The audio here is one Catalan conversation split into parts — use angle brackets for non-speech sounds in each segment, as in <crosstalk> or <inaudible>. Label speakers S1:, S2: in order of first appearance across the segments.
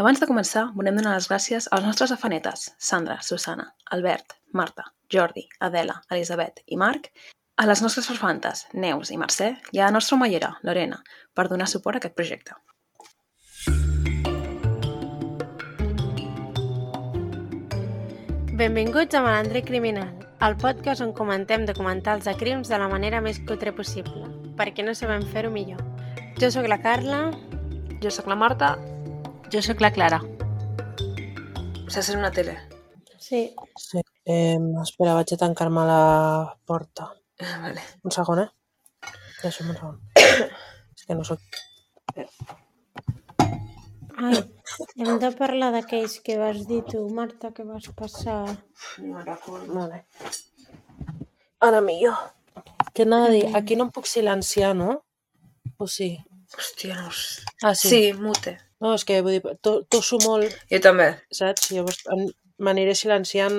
S1: Abans de començar, volem donar les gràcies als nostres afanetes, Sandra, Susana, Albert, Marta, Jordi, Adela, Elisabet i Marc, a les nostres farfantes, Neus i Mercè, i a la nostra mallera, Lorena, per donar suport a aquest projecte.
S2: Benvinguts a Malandre Criminal, el podcast on comentem documentals de crims de la manera més cutre possible, perquè no sabem fer-ho millor. Jo sóc la Carla,
S1: Jo sóc la Marta.
S3: Jo sóc la Clara.
S1: Se sent una tele. <laughs>
S2: sí,
S3: Sí. Eh, espera, vaig a tancar-me la porta.
S1: Vale.
S3: Un segon, eh? Deixa'm un <coughs> segon. És que no sóc...
S2: Ai, hem de parlar d'aquells que vas dir tu, Marta, que vas passar...
S1: No recordo.
S3: Vale. eh? Ara millor. Què anava a dir? Aquí no em puc silenciar, no? O sí?
S1: Hòstia, no... us-
S3: Ah,
S1: Sí,
S3: sí.
S1: sí mute.
S3: No, és que vull dir, to- tosso molt,
S1: Jo també.
S3: saps? Llavors em- m'aniré silenciant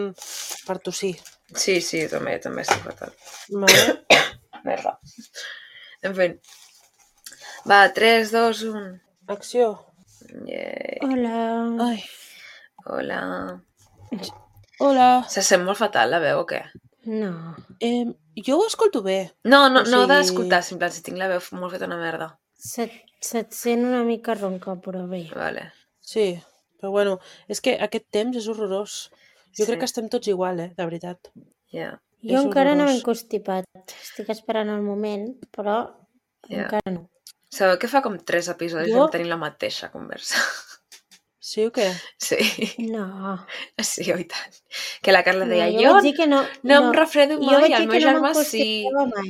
S3: per tossir.
S1: Sí, sí, jo també, jo també estic fatal.
S3: <coughs> Vale?
S1: Merda. En fi. Va, 3, 2, 1.
S3: Acció.
S1: Yeah.
S2: Hola.
S3: Ai.
S1: Hola.
S3: Hola.
S1: Se sent molt fatal la veu o què?
S2: No.
S3: Eh, jo ho escolto bé.
S1: No, no,
S3: O
S1: no
S3: sigui-
S1: d'escoltar, simplement si tinc la veu molt feta una merda.
S2: Se't, se't sent una mica ronca, però bé.
S1: Vale.
S3: Sí, però bueno, és que aquest temps és horrorós.
S1: Sí.
S3: Jo crec que estem tots igual, eh? De veritat.
S1: Yeah.
S2: Jo
S3: És
S2: encara no m'he
S3: horrorós.
S2: constipat. Estic esperant el moment, però
S1: Ja.
S2: encara no.
S1: Sabeu que fa com tres episodis
S3: Jo?
S1: vam tenir la mateixa conversa? <laughs>
S3: Sí o què?
S1: Sí,
S2: No.
S1: sí, oi tant. Que la Carla deia,
S2: no,
S1: jo,
S2: vaig dir que no,
S1: no, em refredo
S2: jo
S1: mai,
S2: vaig
S1: el
S2: dir
S1: meu
S2: que no
S1: germà
S2: me'n
S1: sí.
S2: constipava mai.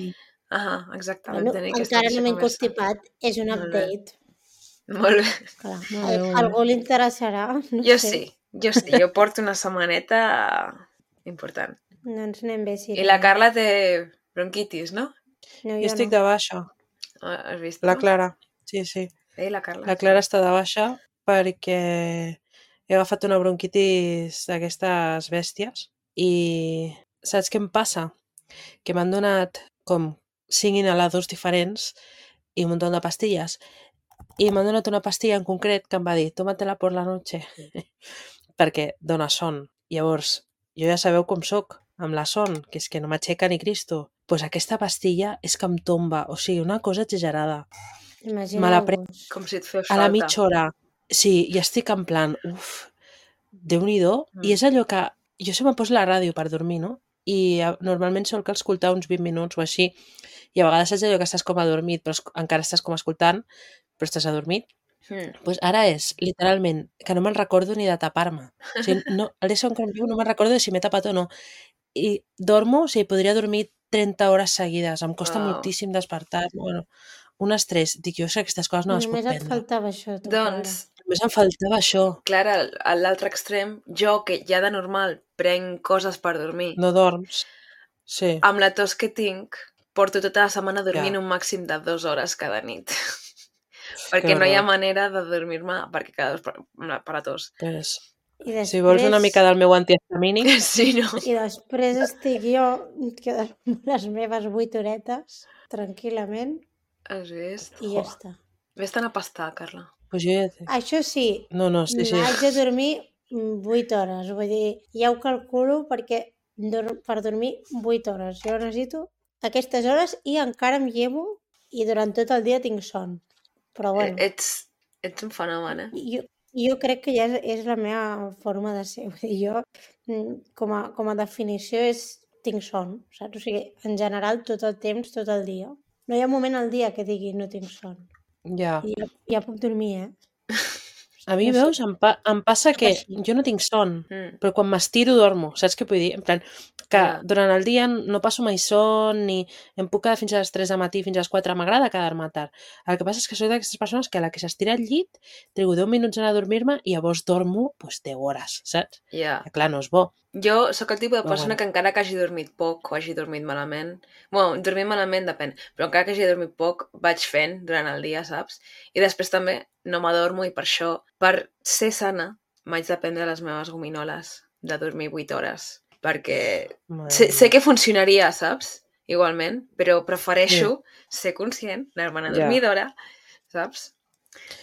S1: Ahà, exactament.
S2: Bueno,
S1: Bueno,
S2: encara no m'he constipat, és un
S1: Molt bé.
S2: update.
S1: <laughs> Molt bé.
S2: Clar,
S3: Molt bé.
S2: a algú li interessarà, <laughs> no
S1: Jo
S2: sé.
S1: sí, jo sí. Jo porto una setmaneta important.
S2: No ens anem bé, sí.
S1: I la Carla té bronquitis, no?
S2: No,
S3: Jo
S2: jo
S3: estic
S2: no.
S3: de baixa.
S1: Ah, Has vist?
S3: La
S1: no?
S3: Clara. Sí, sí.
S1: Ei, la Carla.
S3: La Clara està de baixa perquè he agafat una bronquitis d'aquestes bèsties i saps què em passa? Que m'han donat com cinc inhaladors diferents i un munt de pastilles. I m'han donat una pastilla en concret que em va dir tómatela por la noche <laughs> perquè dona son. Llavors, jo ja sabeu com sóc amb la son, que és que no m'aixeca ni Cristo. Doncs pues aquesta pastilla és que em tomba, o sigui, una cosa exagerada. me la prenc.
S2: Imagineu-vos.
S1: Com si et fes
S3: a
S1: falta.
S3: la mitja hora. Sí, i estic en plan, uf, déu nhi
S1: Mm.
S3: mm. I és allò que jo sempre poso la ràdio per dormir, no? I eh, normalment sol que escoltar uns 20 minuts o així. I a vegades és allò que estàs com adormit, però es- encara estàs com escoltant, però estàs adormit.
S1: Mm.
S3: pues ara és, literalment, que no me'n recordo ni de tapar-me. O sigui, no, a l'Esson Campió no me'n recordo de si m'he tapat o no. I dormo, o sigui, podria dormir 30 hores seguides. Em costa
S1: Uau.
S3: moltíssim despertar. Bueno, un estrès. Dic, jo sé que aquestes coses no les puc
S2: Només et
S3: prendre.
S2: faltava això, tu,
S1: Doncs,
S3: Només em faltava això.
S1: Clara, al- a l'altre extrem, jo, que ja de normal prenc coses per dormir, no.
S3: No dorms. Sí.
S1: amb la tos que tinc, porto tota la setmana dormint
S3: Ja.
S1: un màxim de dues hores cada nit. <laughs> perquè no hi ha manera de dormir-me, perquè cada dos per, per la tos. <laughs>
S3: Pues,
S2: Clara. I després,
S3: si vols una mica del meu antihistamínic,
S1: Sí, no?
S2: I després estic jo, que dormo les meves vuit horetes, tranquil·lament,
S1: Has vist?
S2: i ja està.
S1: Ves-te'n a pastar, Carla.
S3: pues jo ja... et-
S2: Això sí,
S3: No, no, sí, sí.
S2: Haig de dormir 8 hores, vull dir, ja ho calculo perquè dor- per dormir 8 hores. Jo necessito aquestes hores i encara em llevo i durant tot el dia tinc son. Però
S3: Eh,
S1: Bueno.
S2: bueno,
S1: Ets, ets un fenomen, eh?
S2: jo, jo crec que ja és, és la meva forma de ser. <laughs> Vull dir, jo, mm, com a, com a definició, és tinc son, saps? O sigui, en general, tot el temps, tot el dia. No hi ha moment al dia que digui no tinc son.
S3: Ja.
S2: I ja, ja puc dormir, eh?
S3: A mi,
S2: no sé.
S3: veus, em, pa em passa que
S2: així.
S3: jo no tinc son,
S1: Mm.
S3: però quan m'estiro dormo, saps què vull dir? En plan, que
S1: Ja.
S3: durant el dia no passo mai son, ni em puc quedar fins a les 3 de matí, fins a les 4, m'agrada quedar-me tard. El que passa és que soc d'aquestes persones que a la que s'estira al llit, trigo 10 minuts a anar a dormir-me i llavors dormo pues, 10 hores, saps?
S1: Ja.
S3: Que clar, no és bo.
S1: Jo sóc el tipus de
S3: Però
S1: persona
S3: Ah, bueno.
S1: que encara que hagi dormit poc o hagi dormit malament... bueno, dormir malament depèn, però encara que hagi dormit poc vaig fent durant el dia, saps? I després també no m'adormo i per això, per ser sana, m'haig de prendre les meves gominoles de dormir 8 hores. Perquè sé, sé que funcionaria, saps? Igualment, però prefereixo ser conscient, anar-me'n a
S3: Ja.
S1: dormir d'hora, saps?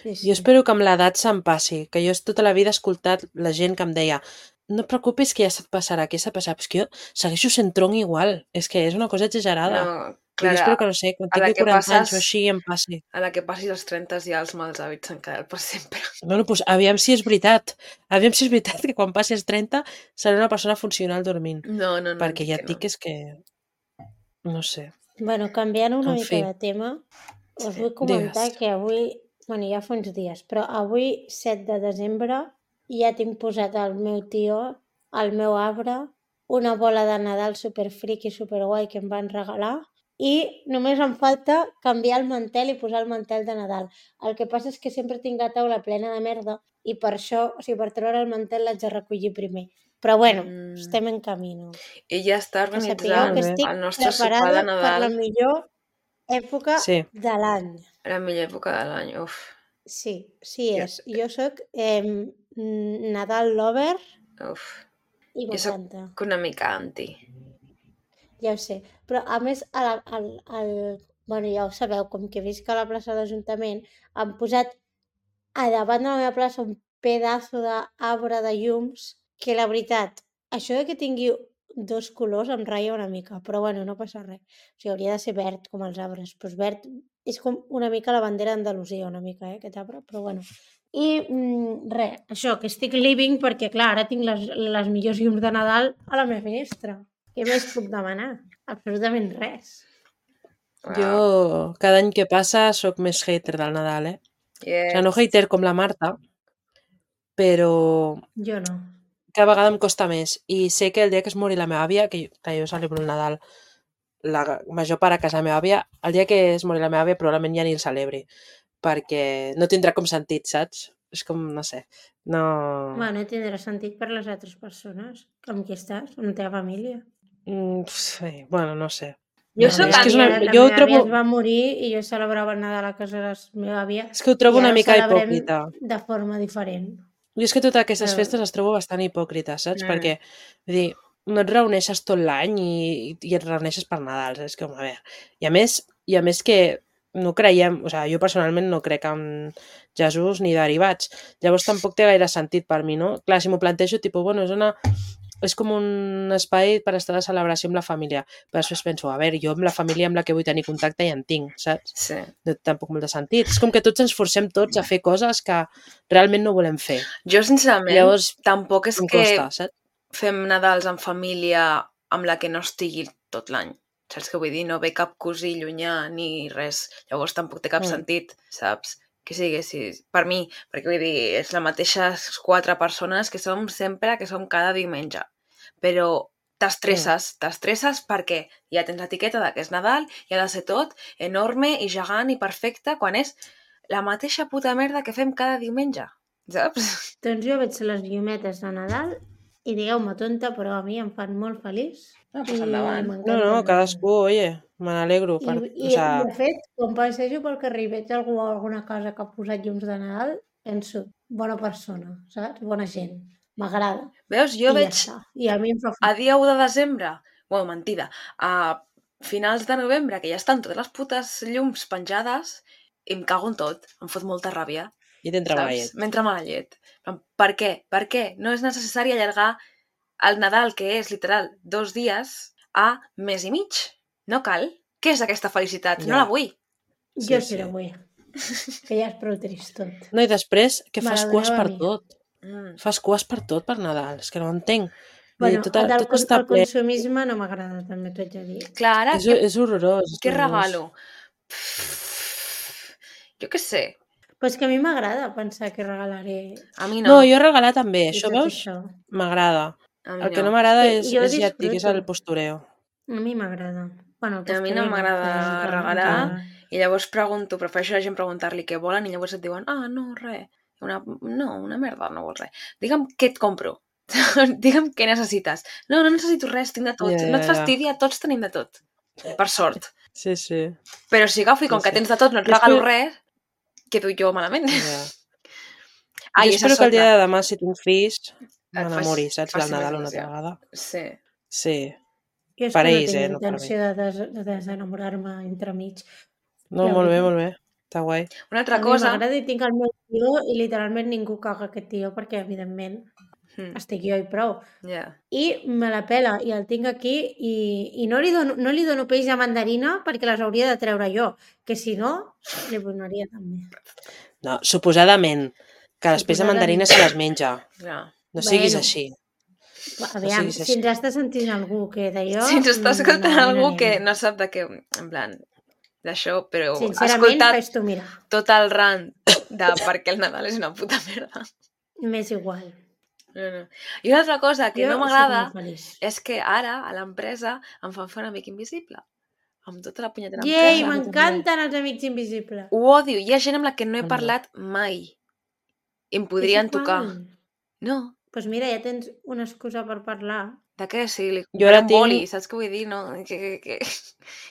S2: Sí,
S3: Jo espero que amb l'edat se'm passi, que jo tota la vida he escoltat la gent que em deia no et preocupis que ja se't passarà, que ja se't passarà. Però és que jo segueixo sent tronc igual. És que és una cosa exagerada. No,
S1: No,
S3: Ah. jo espero que,
S1: clar,
S3: no sé, quan
S1: a la
S3: tingui
S1: que
S3: 40 anys
S1: passes-
S3: o així em passi.
S1: a la que passis els 30 ja els mals hàbits s'han quedat per sempre. <laughs>
S3: Bueno, doncs aviam si és veritat. Aviam si és veritat que quan passi els 30 seré una persona funcional dormint.
S1: No, no, no.
S3: perquè ja et dic
S1: Mm, que...
S3: que és que... No sé.
S2: Bueno, canviant una
S3: En
S2: mica
S3: fi.
S2: de tema, us
S1: Sí,
S2: vull comentar
S3: digues.
S2: que avui, bueno, ja fa uns dies, però avui, 7 de desembre, ja tinc posat al meu tio, al meu arbre, una bola de Nadal superfric i superguai que em van regalar i només em falta canviar el mantel i posar el mantel de Nadal. El que passa és que sempre tinc la taula plena de merda i per això, o sigui, per treure el mantel l'haig de recollir primer. Però bueno,
S1: Mm.
S2: estem en camí, no?
S1: I ja està
S2: Que sapigueu
S1: organitzant
S2: que
S3: bé.
S2: estic
S1: el nostre sopar
S2: preparada
S1: de
S2: per
S1: Nadal,
S2: la
S1: la...
S2: millor
S1: Ah,
S2: època sí.
S3: Sí,
S2: de l'any.
S1: la millor època de l'any. Uf,
S2: Sí, sí
S1: Jo-
S2: és. Jo sóc eh, Nadal Lover
S1: uf.
S2: i
S1: Jo sóc-
S2: m'encanta.
S1: Que una mica anti.
S2: Ja ho sé. Però, a més, a la, al, al... Bueno, ja ho sabeu, com que visc a la plaça de l'Ajuntament, han posat a davant de la meva plaça un pedazo d'arbre de llums que, la veritat, això de que tingui dos colors em raia una mica, però bueno, no passa res. O sigui, hauria de ser verd, com els arbres. Doncs verd és com una mica la bandera d'Andalusia, una mica, eh, aquest arbre, però bueno. I mm, res, això, que estic living perquè, clar, ara tinc les, les millors llums de Nadal a la meva finestra. Què més puc demanar? Absolutament res.
S1: Uau.
S3: jo cada any que passa sóc més hater del Nadal, eh? O
S1: Yeah.
S3: sigui, no hater com la Marta, però
S2: Jo no.
S3: cada vegada em costa més. I sé que el dia que es mori la meva àvia, que jo, clar, jo celebro el Nadal la major part a casa de la meva àvia, el dia que es mori la meva àvia probablement ja ni el celebri, perquè no tindrà com sentit, saps? És com, no sé, no...
S2: Bueno, tindrà sentit per les altres persones. Amb qui estàs? Amb la teva família?
S3: Mm, sí, bueno, no sé.
S1: Jo
S3: No,
S1: sóc
S3: és que és
S1: una-
S2: La
S3: jo ho
S2: meva àvia
S3: trobo-
S2: es va morir i jo celebrava el Nadal a casa de la meva àvia.
S3: És que ho trobo
S2: I
S3: una
S2: ara
S3: mica
S2: celebrem
S3: hipòcrita.
S2: De forma diferent.
S3: Jo és que totes aquestes
S2: Però-
S3: festes les trobo bastant hipòcrites, saps?
S1: Mm.
S3: Mm. Perquè, vull dir, no et reuneixes tot l'any i, i et reuneixes per Nadal, és com, a veure. I a més, i a més que no creiem, o sigui, jo personalment no crec en Jesús ni derivats. Llavors tampoc té gaire sentit per mi, no? Clar, si m'ho plantejo, tipus, bueno, és una, és com un espai per estar de celebració amb la família. Però després penso, a veure, jo amb la família amb la que vull tenir contacte ja en tinc, saps?
S1: Sí.
S3: no té tampoc molt de sentit. És com que tots ens forcem tots a fer coses que realment no volem fer.
S1: Jo, sincerament, Llavors,
S3: Llavors,
S1: tampoc és
S3: em
S1: que
S3: costa, saps?
S1: fem Nadals en família amb la que no estigui tot l'any. Saps què vull dir? No ve cap cosí llunyà ni res. Llavors tampoc té cap
S3: Mm.
S1: mm. sentit, saps? Que siguessis, per mi, perquè vull dir, és la mateixes quatre persones que som sempre, que som cada diumenge. Però t'estresses, t'estresses perquè ja tens l'etiqueta de que és Nadal i ha de ser tot enorme i gegant i perfecte quan és la mateixa puta merda que fem cada diumenge, saps?
S2: Doncs jo veig les llumetes de Nadal i digueu-me tonta, però a mi em fan molt feliç.
S1: Ah,
S2: i
S1: doncs endavant.
S3: No,
S2: m'encanta
S3: no,
S2: el
S3: cadascú, oye, me n'alegro. Per,
S2: Nadal. I, i,
S3: o sea,
S2: de fet, quan passejo pel carrer i veig algú o alguna cosa que ha posat llums de Nadal, penso, bona persona, saps? Bona gent. M'agrada.
S1: Veus,
S2: I
S1: jo
S2: ja
S1: veig
S2: està. I a mi em fa
S3: Ah,
S1: a dia 1 de desembre, bueno, mentida, a finals de novembre, que ja estan totes les putes llums penjades, i em cago en tot, em fot molta ràbia,
S3: i t'entra la
S1: saps?
S3: llet.
S1: M'entra mala llet. En plan, Per què? Per què? No és necessari allargar el Nadal, que és literal dos dies, a mes i mig. No cal. Què és aquesta felicitat?
S3: Ja.
S1: No la vull.
S2: Sí,
S3: Sí,
S2: jo sí,
S3: sí.
S2: la vull. Que ja és prou trist tot.
S3: No, i després, que
S2: Me
S3: fas
S2: la
S3: cues
S2: doneu a
S3: per
S2: mi.
S3: tot.
S1: Mm.
S3: Fas cues per tot per Nadal, és que no ho entenc. Bueno,
S2: Bueno,
S3: tot,
S2: el, del,
S3: tot
S2: con-
S3: està
S2: el
S3: ple.
S2: consumisme no m'agrada, també t'ho haig de dir.
S1: Clar, ara,
S3: És,
S1: què,
S3: és horrorós. és
S1: què
S3: horrorós.
S1: regalo? Pff, jo què sé.
S2: Però és que a mi m'agrada pensar que regalaré
S1: A mi no.
S3: No, jo regalar també,
S2: i
S3: això
S2: tot
S3: veus?
S2: això.
S3: M'agrada.
S1: a mi
S3: El que no m'agrada
S2: Sí,
S3: és,
S2: jo
S3: és, ja et dic, és el
S2: disfruto.
S3: postureo.
S2: A mi m'agrada. Bueno,
S1: A mi no m'agrada regalar. I llavors pregunto, prefereixo a la gent preguntar-li què volen i llavors et diuen, ah, no, res, una, no, una merda, no vols res. Digue'm què et compro. <laughs> Digue'm què necessites. No, no necessito res, tinc de tot.
S3: Ja,
S1: Yeah, no et
S3: ja, ja.
S1: fastidia, tots tenim de tot. Per sort.
S3: Sí,
S2: <laughs>
S3: sí.
S1: Però si agafo i com
S3: Sí,
S1: que
S3: sí.
S1: tens de tot no et
S3: Jo
S1: regalo
S3: espero-
S1: res, quedo jo malament.
S3: Ja.
S1: <laughs> Ai,
S3: jo
S1: és a
S3: espero que
S1: sobre.
S3: el dia de demà, si tinc fills,
S1: Et Eh, faci-
S3: m'enamori, saps? Del
S1: faci més
S3: Nadal una altra
S1: il·lusió.
S3: vegada.
S1: Sí.
S3: Sí.
S2: Jo és
S3: Per
S2: que no
S3: ells,
S2: tinc
S3: eh, no per mi.
S2: intenció de, des de desenamorar-me entremig.
S3: No,
S2: Ja ho
S3: molt bé,
S2: dic.
S3: molt bé. Està guai.
S1: Una
S2: A
S1: altra
S2: mi
S1: cosa...
S2: M'agrada i tinc el meu tio i literalment ningú caga aquest tio perquè, evidentment,
S1: Mm,
S2: estic jo i prou.
S1: yeah.
S2: I me la pela i el tinc aquí i, i no, li dono, no li dono peix de mandarina perquè les hauria de treure jo, que si no, li donaria també.
S3: No, suposadament, que després de
S2: Suposadament.
S3: mandarina se les menja.
S1: Yeah.
S3: No siguis
S2: Bueno.
S3: així.
S2: Va, Aviam,
S3: siguis
S2: si ens està sentint algú que d'allò...
S1: Si ens està
S2: mm,
S1: escoltant
S2: no, no
S1: algú
S2: anem.
S1: que no sap de què... En plan, d'això, però ha
S2: Sincerament,
S1: escoltat
S2: fes tu mirar.
S1: tot el rant de per què el Nadal és una puta merda.
S2: M'és igual.
S1: No, no. I una altra cosa que no
S2: Jo soc
S1: m'agrada eh,
S2: molt feliç.
S1: és que ara a l'empresa em fan fer un amic invisible. Amb tota la punyetera
S2: Yay,
S1: empresa.
S2: m'encanten els amics invisibles.
S1: Ho odio. Hi ha gent amb la que no he
S3: Anda.
S1: parlat mai. I em podrien tocar. No,
S2: Doncs pues mira, ja tens una excusa per parlar.
S1: de què? Si li
S3: Jo
S1: compraré
S3: ara
S1: un
S3: tinc-
S1: boli, saps què vull dir? No, <laughs> que, que, que...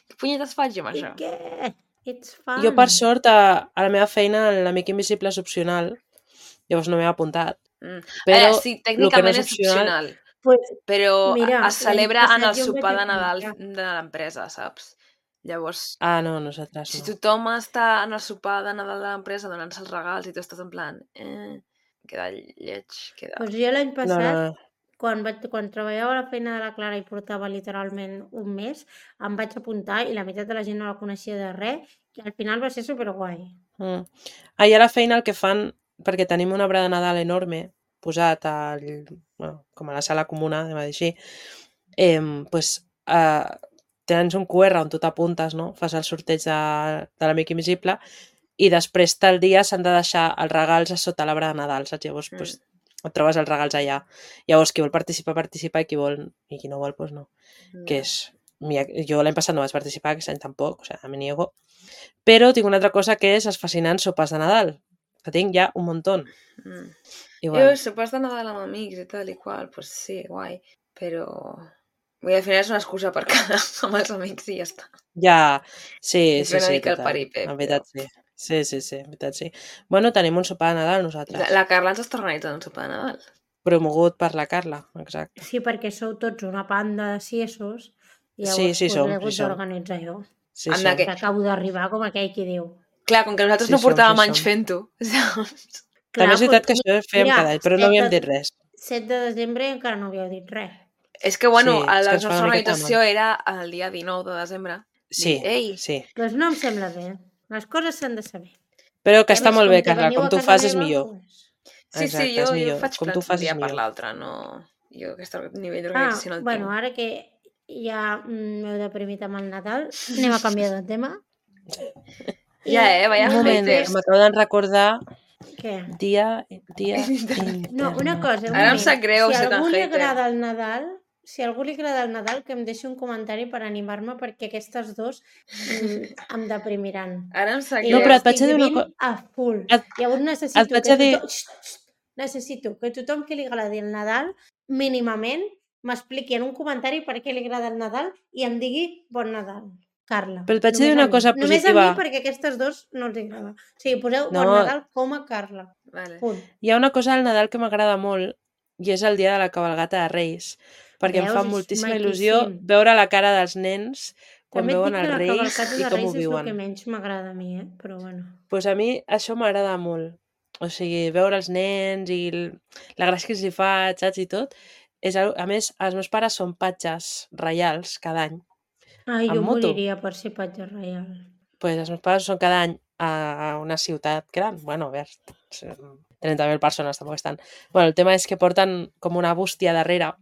S1: que punyetes faig jo amb
S2: I
S1: això?
S2: què? It's fun.
S3: Jo, per sort, a, a la meva feina l'amic invisible és opcional, llavors no m'he apuntat.
S1: Mm.
S3: Però
S1: Ara, sí, tècnicament
S3: és
S1: és opcional,
S2: Pues,
S1: però
S2: Mira,
S1: Mira, es celebra
S2: l'any
S1: en el
S2: passat jo em vaig
S1: sopar de Nadal
S2: apuntar.
S1: de l'empresa, saps? Llavors,
S3: Ah, no, nosaltres
S1: Si
S3: no.
S1: tothom està en el sopar de Nadal de l'empresa donant-se els regals i tu estàs en plan... Eh, queda lleig, queda...
S2: pues jo l'any
S3: No,
S2: passat,
S3: no,
S2: no,
S3: no.
S2: no. Quan, vaig, quan treballava a la feina de la Clara i portava literalment un mes, em vaig apuntar i la meitat de la gent no la coneixia de res i al final va ser superguai.
S3: Mm. Allà a la feina el que fan, perquè tenim un arbre de Nadal enorme, posat al, bueno, com a la sala comuna, anem a dir així, eh, pues, eh, tens un QR on tu t'apuntes, no? fas el sorteig de, de l'amic invisible i després tal dia s'han de deixar els regals a sota l'arbre de Nadal, saps? Llavors
S1: Mm.
S3: pues, et trobes els regals allà. Llavors qui vol participar, participa i qui vol i qui no vol, pues no. que és... Mira, jo l'any passat no vaig participar, aquest any tampoc, o sigui, me niego. Però tinc una altra cosa que és els fascinants sopars de Nadal, que tinc ja un muntó.
S1: Mm.
S3: I
S1: Jo,
S3: bueno,
S1: sopars de Nadal amb amics i tal i qual, pues sí, guai, però... Vull dir, al final és una excusa per quedar <laughs> amb els amics i ja està.
S3: ja... Sí,
S1: És
S3: sí,
S1: una
S3: sí,
S1: mica el
S3: total.
S1: paripé,
S3: En veritat, sí. Sí, sí, sí, en veritat, sí. Bueno, tenim un sopar de Nadal nosaltres,
S1: La, la Carla ens està organitzant un sopar de Nadal.
S3: promogut per la Carla, exacte.
S2: Sí, perquè sou tots una panda de ciesos i
S3: Sí,
S2: llavors
S3: sí,
S2: pues,
S3: som,
S2: l'he
S3: sí,
S2: hagut
S3: som.
S2: d'organitzar jo.
S3: Sí,
S1: Anda,
S3: sí.
S1: que-
S2: Que acabo d'arribar com aquell qui diu.
S1: Clar, com que nosaltres
S3: Sí,
S1: no
S3: som, sí,
S1: portàvem anys
S3: som.
S1: fent-ho, <laughs> saps?
S3: També és veritat que
S2: com-
S3: això ho fèiem
S2: mira,
S3: cada any, però no havíem dit
S2: estem-
S3: res.
S2: 7 de desembre i encara no havíeu dit res.
S1: És que, bueno,
S3: Sí,
S1: sí,
S3: és que
S1: la
S3: ens fa
S1: nostra
S3: una miqueta de
S1: organització era el dia 19 de desembre.
S3: Sí,
S1: Dir, Ei,
S3: sí.
S2: Doncs no em sembla bé. Les coses s'han de saber.
S3: Però que
S2: I a
S3: està
S2: més,
S3: molt
S2: com
S3: bé,
S2: que
S3: Carla,
S2: veniu
S3: com
S2: a
S3: tu
S2: casa
S3: fas és
S2: meva,
S3: millor.
S2: doncs-
S1: Sí,
S3: Exacte,
S1: sí, jo,
S3: és
S1: jo
S3: millor.
S1: faig
S3: Com
S1: plans
S3: tu
S1: un
S3: fas és
S1: dia per
S3: millor.
S1: l'altre, no... Jo aquest or- nivell
S2: Ah,
S1: d'organització no el
S2: bueno,
S1: tinc.
S2: ara que ja mm, m'heu deprimit amb
S1: <laughs>
S2: el Nadal, anem a canviar de tema.
S1: Ja, eh, vaya
S3: Un
S1: Ja,
S3: moment,
S1: haters.
S3: m'acabo de recordar
S2: Què?
S3: dia,
S2: <laughs>
S3: dia
S2: No, una cosa. un
S1: Ara em
S2: moment.
S1: sap greu
S2: si
S1: ser tan
S2: algú li
S1: hater.
S2: agrada el Nadal, si algú li agrada el Nadal, que em deixi un comentari per animar-me perquè aquestes dos mm, em deprimiran.
S1: Ara em sap
S2: I
S1: greu.
S3: No, però et vaig
S2: estic
S3: a dir una
S2: vivint
S3: co-
S2: A full.
S3: et-
S2: Llavors necessito
S3: vaig
S2: que
S3: a dir-
S2: tothom... Xxt, xxt. necessito que tothom que li agradi el Nadal, mínimament, m'expliqui en un comentari per què li agrada el Nadal i em digui bon Nadal. Carla.
S3: Però et vaig a
S2: només
S3: dir una
S2: mi.
S3: cosa
S2: Només a
S3: positiva.
S2: mi perquè aquestes dos no els agrada. O sigui, poseu
S3: No.
S2: bon Nadal com a Carla.
S1: Vale.
S2: Punt.
S3: Hi ha una cosa al Nadal que m'agrada molt i és el dia de la cabalgata de Reis, perquè em
S2: Veus?
S3: fa
S2: És
S3: moltíssima
S2: maquíssim.
S3: il·lusió veure la cara dels nens quan
S2: També et
S3: veuen
S2: dic que
S3: els
S2: la
S3: Reis
S2: cavalcata
S3: i
S2: de
S3: com ho
S2: Reis és el
S3: viuen.
S2: que menys m'agrada a mi, eh? però bueno.
S3: pues a mi això m'agrada molt. O sigui, veure els nens i l- la gràcia que els hi fa, saps, i tot. És, al- a més, els meus pares són patges reials cada any.
S2: Ai,
S3: Amb
S2: jo
S3: moto.
S2: moriria per ser patge reial.
S3: pues els meus pares són cada any a una ciutat gran. bueno, a veure, són 30.000 persones tampoc estan. bueno, el tema és que porten com una bústia darrere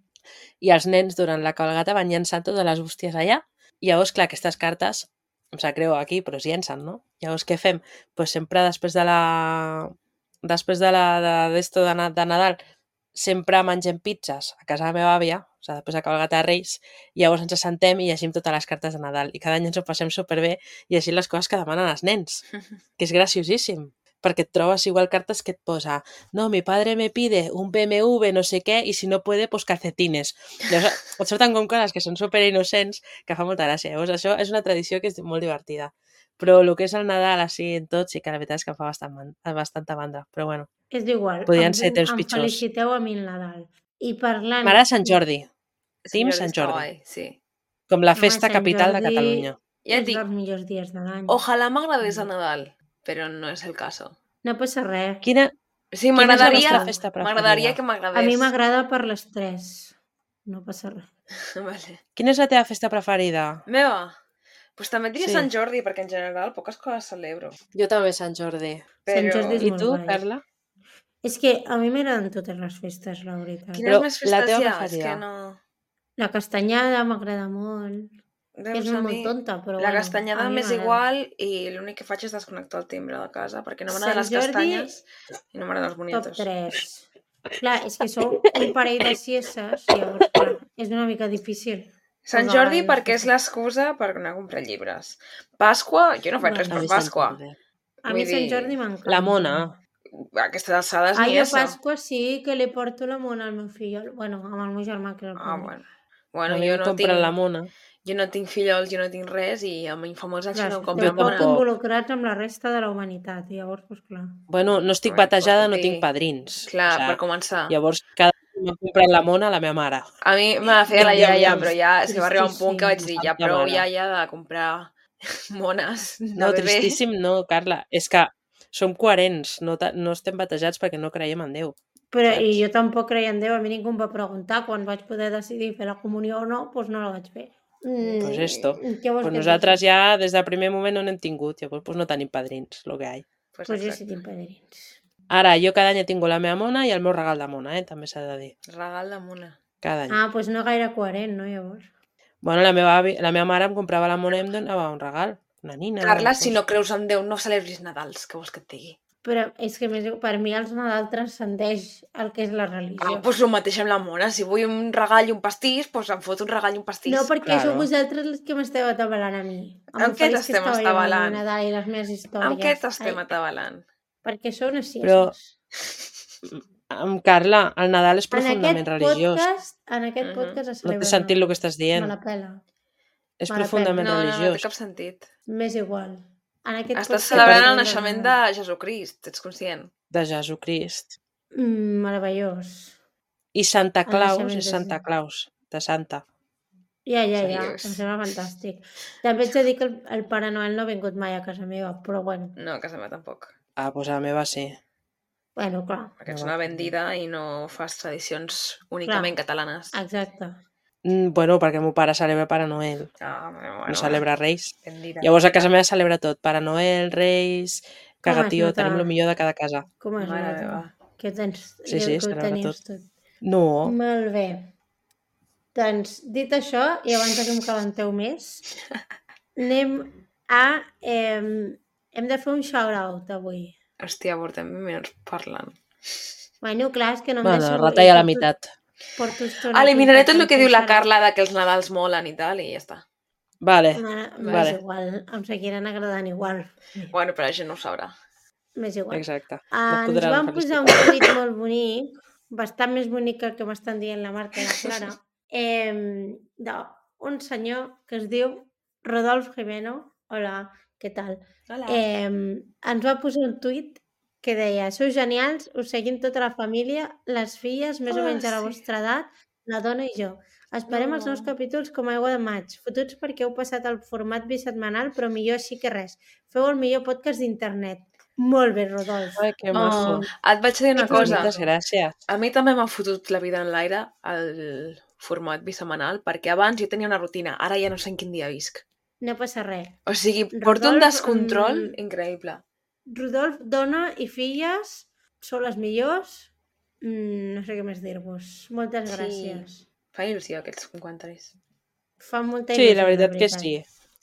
S3: i els nens durant la cabalgata van llançant totes les bústies allà. I llavors, clar, aquestes cartes em sap greu aquí, però es llencen, no? Llavors, què fem? pues sempre després de la... Després de la de, d'esto de, na- de Nadal, sempre mengem pizzas a casa de la meva àvia, o sigui, després de cabalgata de Reis, i llavors ens assentem i llegim totes les cartes de Nadal. I cada any ens ho passem superbé i així les coses que demanen els
S2: <laughs>
S3: nens, que és graciosíssim, perquè et trobes igual cartes que et posa no, mi padre me pide un BMW no sé què i si no puede, pues calcetines. Llavors, eh, et surten com coses que són super innocents que fa molta gràcia. Llavors, això és una tradició que és molt divertida. Però el que és el Nadal, així, en tot, sí que la veritat és que em fa bastant, man- bastanta mandra. Però bueno,
S2: És igual,
S3: Podien
S2: em,
S3: ser temps
S2: em
S3: pitjors.
S2: feliciteu a mi el Nadal. I parlant...
S3: m'agrada Sant Jordi, Team
S1: Senyores,
S3: Sant
S1: està
S3: Jordi.
S1: guai, Sí.
S3: com la
S2: Home,
S3: festa
S2: Sant
S3: capital de
S2: Jordi-
S3: Catalunya.
S1: Ja et
S2: és
S1: dic,
S2: dels millors dies de l'any.
S1: ojalà m'agradés el Nadal. però no és el cas.
S2: No passa res.
S3: Quina,
S1: Sí,
S3: quina és la vostra
S1: m'agradaria
S3: festa
S1: m'agradaria
S3: preferida?
S1: que m'agradés.
S2: A mi m'agrada per les tres. No passa res.
S1: <laughs> Vale.
S3: Quina és la teva festa preferida?
S1: Meva, pues també et diré
S3: Sí.
S1: Sant Jordi, perquè en general poques coses celebro.
S3: Jo també Sant Jordi.
S1: Però...
S2: Sant Jordi és
S3: I
S2: molt
S3: tu,
S2: guai.
S3: Carla?
S2: És que a mi m'agraden totes les festes, la veritat.
S1: Quines
S3: Però
S1: més
S3: la
S1: festes
S3: teva
S1: hi ha? És
S3: preferida.
S1: que no...
S2: La castanyada m'agrada molt. Que
S1: Veus,
S2: és
S1: a
S2: molt
S1: mi-
S2: tonta, però
S1: La
S2: bueno,
S1: castanyada
S2: a mi
S1: m'és
S2: m'agrada.
S1: igual i l'únic que faig és desconnectar el timbre de casa perquè no m'agraden
S2: Sant
S1: les
S2: Jordi,
S1: castanyes i no m'agraden els
S2: Top
S1: bonitos.
S2: 3. Clar, és que sou un parell de cieses, llavors clar, és una mica difícil.
S1: Sant
S2: Us
S1: Jordi
S2: agrada,
S1: perquè
S2: sí,
S1: és
S2: sí.
S1: l'excusa per anar a comprar llibres. Pasqua, jo no faig
S2: Bueno,
S1: res per
S3: També Sant
S1: Pasqua.
S3: Jordi.
S2: A
S1: Vull
S2: mi Sant
S1: dir,
S2: Jordi m'encanta.
S3: La mona.
S1: A aquestes alçades
S2: Ai,
S1: ni
S2: a
S1: essa.
S2: Pasqua sí que li porto la mona al meu fill. Bueno, amb el meu germà que el
S1: Ah,
S2: porto.
S1: bueno. Bueno,
S3: Bueno, a mi
S1: jo
S3: em
S1: no, tinc,
S3: compren la mona.
S1: jo no tinc fillols, jo no tinc res i a mi fa molts anys que no em
S2: Clar,
S1: compro
S3: Jo
S1: amb una.
S2: tampoc
S3: tampoc.
S2: involucrats amb la resta de la humanitat, llavors, doncs clar.
S3: Bueno, no estic
S1: Bueno,
S3: batejada, no
S1: escolti.
S3: tinc padrins.
S1: Clar,
S3: o sea,
S1: per començar.
S3: Llavors, cada dia m'ha comprat la mona a la meva mare.
S1: A mi me la feia la
S3: Ja, ja,
S1: iaia,
S3: ja.
S1: però ja és que va arribar un punt que vaig dir,
S3: Tristíssim.
S1: ja prou
S3: Mare.
S1: iaia de comprar <laughs> mones de
S3: No,
S1: bebè.
S3: tristíssim no, Carla. És que som coherents, no, ta- no estem batejats perquè no creiem en Déu.
S2: Però,
S3: Saps?
S2: I jo tampoc creia en Déu, a mi ningú em va preguntar quan vaig poder decidir fer la comunió o no, doncs no la vaig fer. Mm,
S3: Pues esto.
S2: Què vols
S3: Pues
S2: que et
S3: nosaltres ja des del primer moment no n'hem tingut, llavors pues no tenim padrins, el que hi ha.
S1: Pues
S2: Pues jo
S1: exacte.
S2: sí tinc padrins.
S3: Ara, jo cada any tinc la meva mona i el meu regal de mona, eh? també s'ha de dir,
S1: Regal de mona.
S3: cada any.
S2: Ah, doncs pues no gaire coherent, no, llavors?
S3: Bueno, la meva, avi, la meva mare em comprava la mona i em donava un regal, una nina.
S1: Carla,
S3: una
S1: si no creus en Déu, no celebris Nadals, que vols que et digui?
S2: Però és que més, per mi els Nadal transcendeix el que és la religió.
S1: Ah, pues el mateix amb la mona. Si vull un regal i un pastís, pues em foto un regal i un pastís.
S2: No, perquè claro.
S3: claro.
S2: sou vosaltres els que m'esteu atabalant a mi.
S1: Amb
S2: el
S1: què
S2: feliç
S1: t'estem
S2: estava jo amb el
S1: atabalant?
S2: Nadal i les meves històries.
S1: Amb què t'estem
S2: Ai,
S1: atabalant?
S2: Perquè sou unes cieses.
S3: Però Amb Carla, el Nadal és
S2: en
S3: profundament
S2: aquest
S3: religiós.
S2: podcast, en aquest
S1: Mhm.
S2: podcast es
S3: No
S2: celebra.
S3: té sentit el que estàs
S2: Me
S3: dient.
S2: la pela.
S3: És
S2: me la
S1: No,
S2: pela.
S3: profundament
S1: no, no, no té
S3: religiós.
S1: cap sentit.
S2: M'és igual. En aquest
S1: Estàs
S2: podcast
S1: celebrant
S2: es
S1: el
S2: celebra
S1: naixement de
S2: Nadal.
S1: Jesucrist, ets conscient?
S3: De Jesucrist.
S2: Mm, meravellós.
S3: I Santa
S2: El
S3: Claus
S2: naixement
S3: és
S2: de
S3: Santa
S2: Jesús.
S3: Claus, de Santa.
S2: Ja, ja, ja.
S1: Seriós.
S2: Em sembla fantàstic. També ets de dir que el, el Pare Noel no ha vingut mai a casa meva, però bueno,
S1: No, a casa meva tampoc.
S3: Ah, doncs la meva sí.
S2: bueno, clar,
S1: Perquè ets
S3: No,
S1: una
S3: no.
S1: vendida i no fas tradicions únicament catalanes.
S2: exacte.
S3: Mm, bueno, perquè el meu pare celebra Pare Noel,
S1: Ah, bueno,
S3: no celebra Reis.
S1: Vendida.
S3: Llavors a casa meva celebra tot, Pare Noel, Reis,
S2: Com es
S3: cagatió,
S2: nota?
S3: tenim el millor de cada casa.
S2: Com es
S1: Mare
S2: nota?
S1: meva.
S2: Que tens,
S3: Sí,
S2: que
S3: sí,
S2: ho
S3: celebra
S2: tenies
S3: tot.
S2: tot.
S3: No,
S2: Molt bé. Doncs, dit això, i abans de que em calenteu més,
S1: <laughs>
S2: anem a... Eh, hem de fer un shout-out avui.
S1: Hòstia, portem 20 minuts parlant.
S2: Bueno, clar, és que no em
S3: bueno,
S2: deixo...
S3: retalla la
S2: porto-
S3: meitat.
S2: Porto estona
S1: Ah, Eliminaré
S2: aquí
S1: tot el que
S2: intentant
S1: diu la
S2: pensar.
S1: Carla de que els Nadals molen i tal, i ja està.
S3: Vale,
S2: Mare, m'és
S3: Vale.
S2: igual, em seguiran agradant igual.
S1: Bueno, però la gent no ho sabrà.
S2: M'és igual.
S3: exacte.
S2: Ah, ens
S3: podran
S2: van
S3: fer
S2: posar un tuit molt bonic, bastant més bonic que el que m'estan dient la Marta i la Clara, eh, d'un senyor que es diu Rodolf Jimeno. Hola, què tal?
S1: Hola.
S2: Eh, ens va posar un tuit que deia Sou genials, us seguim tota la família, les filles, més
S1: Ah,
S2: o menys a la
S1: sí.
S2: vostra edat, la dona i jo. Esperem els nous
S1: No.
S2: capítols com a aigua de maig. Fotuts perquè heu passat el format bisetmanal, però millor així que res. Feu el millor podcast d'internet. Molt bé, Rodolf.
S3: Ai, que maco.
S2: Oh,
S1: Ah, Et vaig dir una
S2: Ets
S1: cosa.
S3: Moltes gràcies.
S1: A mi també m'ha fotut la vida en l'aire el format bisemanal, perquè abans jo tenia una rutina, ara ja no sé en quin dia visc.
S2: no passa res.
S1: O sigui, porto un
S2: Rodolf,
S1: descontrol
S2: mm.
S1: increïble.
S2: Rodolf, dona i filles són les millors. Mm, no sé què més dir-vos. Moltes
S1: Sí.
S2: sí. gràcies.
S1: Fa il·lusió aquests comentaris.
S2: Fa molta
S3: Sí,
S2: il·lusió.
S3: la veritat que sí.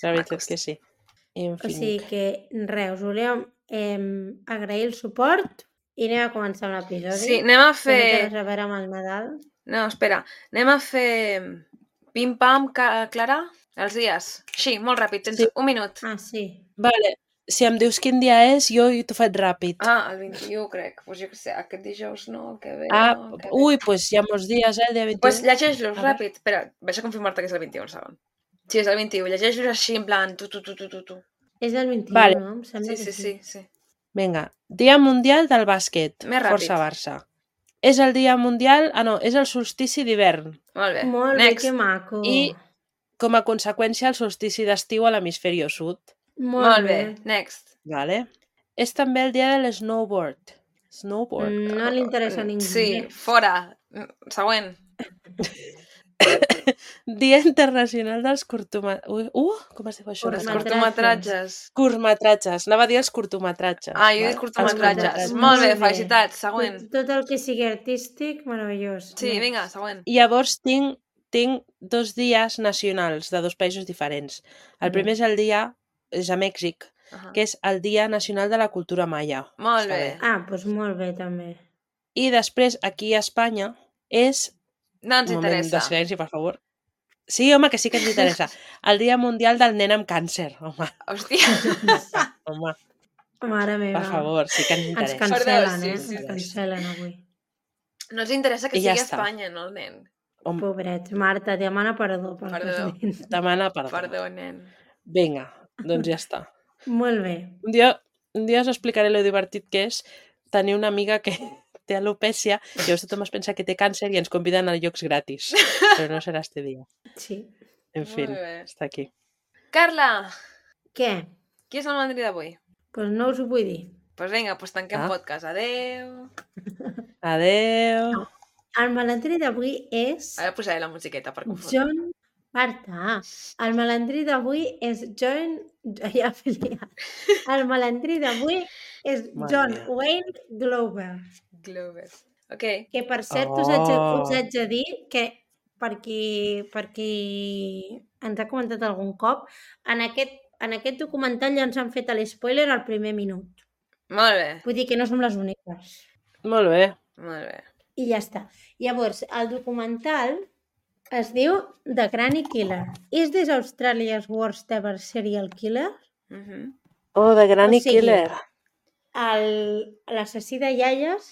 S3: La veritat
S1: Macos.
S3: que sí.
S2: O sigui
S3: Infinit.
S2: que, res, us volíem eh, agrair el suport i anem a començar amb l'episodi.
S1: Sí, anem a
S2: Que no té
S1: fer...
S2: res a veure amb el Nadal.
S1: No, espera. Anem a fer... Pim-pam, ca- Clara? Els dies. Així, molt ràpid. Tens
S3: Sí.
S1: un minut.
S2: Ah, sí.
S3: Vale, si em dius quin dia és, jo t'ho faig ràpid.
S1: Ah, el 21, crec. Pues jo què sé, aquest dijous no, el que ve.
S3: Ah,
S1: no, el que ve.
S3: ui, doncs pues hi ha molts dies, eh, el dia 21.
S1: Pues llegeix-los
S3: A veure.
S1: ràpid. Espera, vaig a confirmar-te que és el 21, un segon. Sí, és el 21. Llegeix-los així, en plan, tu, tu, tu, tu, tu, tu.
S2: És el 21,
S3: Vale.
S2: no? Em sembla
S1: Sí,
S2: que
S1: sí, sí, sí.
S3: Vinga, Dia Mundial del Bàsquet.
S1: Més ràpid.
S3: Força Barça. És el dia mundial... Ah, no, és el solstici d'hivern.
S1: Molt bé.
S2: Molt
S1: Next.
S2: bé, que maco.
S3: I com a conseqüència el solstici d'estiu a l'hemisferi sud.
S1: Molt bé. Next.
S3: Vale? És també el dia de l'snowboard. Snowboard.
S2: Mm, No li interessa a ningú.
S1: Sí,
S2: res.
S1: fora. Mm, Següent. Mm.
S3: Dia internacional dels curtmetratges. Uh, com es diu això?
S1: Els
S2: Curtmetratges.
S1: curtmetratges.
S3: Curtmetratges. Anava a dir els curtmetratges.
S1: Ah, jo he dit
S3: Vale.
S1: curtmetratges.
S2: curtmetratges.
S1: Molt bé,
S2: Molt bé.
S1: felicitats. Següent.
S2: Tot, tot el que sigui artístic, meravellós.
S1: Sí,
S2: Next.
S1: vinga, següent.
S3: I Llavors tinc, tinc dos dies nacionals de dos països diferents. El
S2: Mm.
S3: primer és el dia, és a Mèxic,
S1: Ahà.
S3: que és el Dia Nacional de la Cultura Maia.
S1: Molt
S3: Està
S1: bé.
S2: Ah, doncs pues molt bé, també. <laughs>
S3: I després, aquí a Espanya, és...
S1: No ens
S3: Un moment
S1: interessa.
S3: de silenci, per favor. Sí, home, que sí que ens
S1: <laughs>
S3: interessa. El Dia Mundial del Nen amb Càncer. Home,
S1: Hòstia.
S3: home,
S2: Mare meva.
S3: per favor, sí que ens
S2: Ens
S3: interessa.
S2: cancel·len,
S1: Perdó, sí,
S2: eh?
S1: sí,
S2: Ens
S3: sí.
S2: cancel·len avui.
S1: No ens interessa que
S3: I ja
S1: sigui a
S3: està.
S1: Espanya, no el nen.
S3: Home,
S2: Pobret. Marta, demana perdó. Pel que
S1: Perdó.
S2: has dit.
S3: demana perdó.
S1: Perdó, nen.
S3: Vinga, doncs ja està.
S2: <laughs> Molt bé.
S3: Un dia, un dia us explicaré lo divertit que és tenir una amiga que <laughs> té alopècia, llavors tothom es pensa que té càncer i ens conviden a llocs gratis. Però no serà este dia.
S2: Sí.
S3: En fi,
S1: Molt bé.
S3: està aquí.
S1: Carla,
S2: Què?
S1: qui és el mandrí d'avui?
S2: Doncs pues no us ho vull dir.
S1: Doncs pues vinga, pues tanquem
S3: Ah.
S1: podcast. Adeu.
S3: Adeu.
S2: El malandrí d'avui és
S1: Ara posaré la musiqueta per confondre.
S2: John... Marta, el malandrí d'avui és John... <laughs> Ja, m'he liat. el malandrí d'avui és
S3: Mare
S2: John
S3: meva.
S2: Wayne Glover.
S1: Glover. Ok.
S2: Que per cert, us, haig,
S3: Oh.
S2: us haig de dir que per qui, per qui ens ha comentat algun cop, en aquest, en aquest documental ja ens han fet l'espoiler al primer minut.
S1: Molt bé,
S2: Vull dir que no som les úniques.
S3: Molt bé.
S1: molt bé.
S2: I ja està. Llavors, el documental es diu The Granny Killer. Is this Australia's worst ever serial killer?
S1: Mhm.
S3: Oh, de Granny
S2: O sigui,
S3: Killer.
S2: el- l'assassí de iaies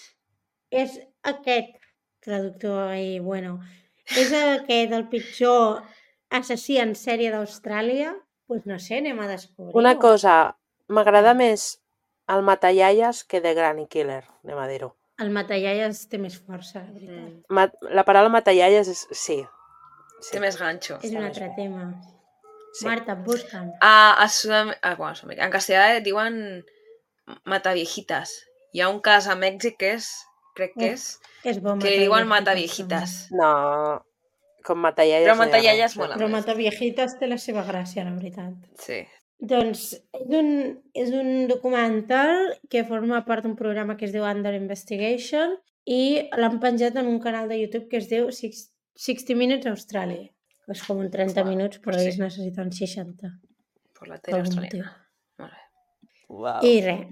S2: és aquest traductor i bueno, és aquest el pitjor assassí en sèrie d'Austràlia? Doncs pues no sé, anem a descobrir
S3: Una cosa, m'agrada més el Matallaies que de Granny Killer, anem a dir-ho.
S2: El matallaies té més força, la veritat.
S1: Mm.
S3: Ma- La paraula Matallaies és... Sí.
S1: Té
S3: sí.
S1: més ganxo.
S2: És un
S3: Està
S2: altre
S3: més
S2: tema.
S3: Sí.
S2: Marta, busca'm.
S1: A, a Sudam... A, bueno, a Sudamèrica. En castellà diuen mataviejitas. Hi ha un cas a Mèxic que és, crec que és,
S2: És bo
S1: que li diuen
S2: Eh, mataviejitas,
S1: mataviejitas.
S3: No, com Matallaies...
S1: Però
S3: no hi ha
S1: Matallaies
S3: res.
S1: mola.
S2: Però Mataviejitas té la seva gràcia, la veritat.
S1: Sí.
S2: Doncs és un, és un documental que forma part d'un programa que es diu Under Investigation i l'han penjat en un canal de YouTube que es diu Six- 60 Minutes Australia. que És com un 30
S1: Uau,
S2: minuts, però
S1: pues sí.
S2: ells necessiten 60.
S1: Per la
S2: Per
S1: tele
S2: algun
S1: australiana. Molt bé.
S3: Uau.
S2: I res,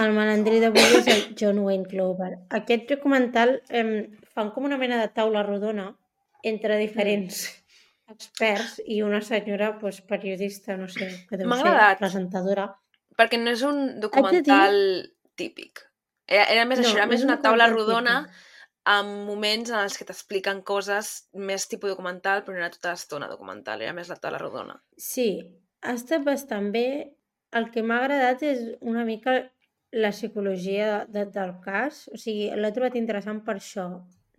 S2: el malandrí d'avui és el John Wayne Glover. Aquest documental em, fan com una mena de taula rodona entre diferents experts i una senyora pues, periodista, no sé, que deu
S1: M'ha
S2: ser
S1: agradat.
S2: presentadora.
S1: Perquè no és un
S2: dir-
S1: documental típic. Era, era més això, era
S2: no
S1: més
S2: és
S1: una
S2: un
S1: taula
S2: documental
S1: rodona
S2: típic.
S1: amb moments en els que t'expliquen coses més tipus documental, però no era tota l'estona documental, era més la taula rodona.
S2: Sí, ha estat bastant bé. El que m'ha agradat és una mica la psicologia de, del cas. O sigui, l'he trobat interessant per això.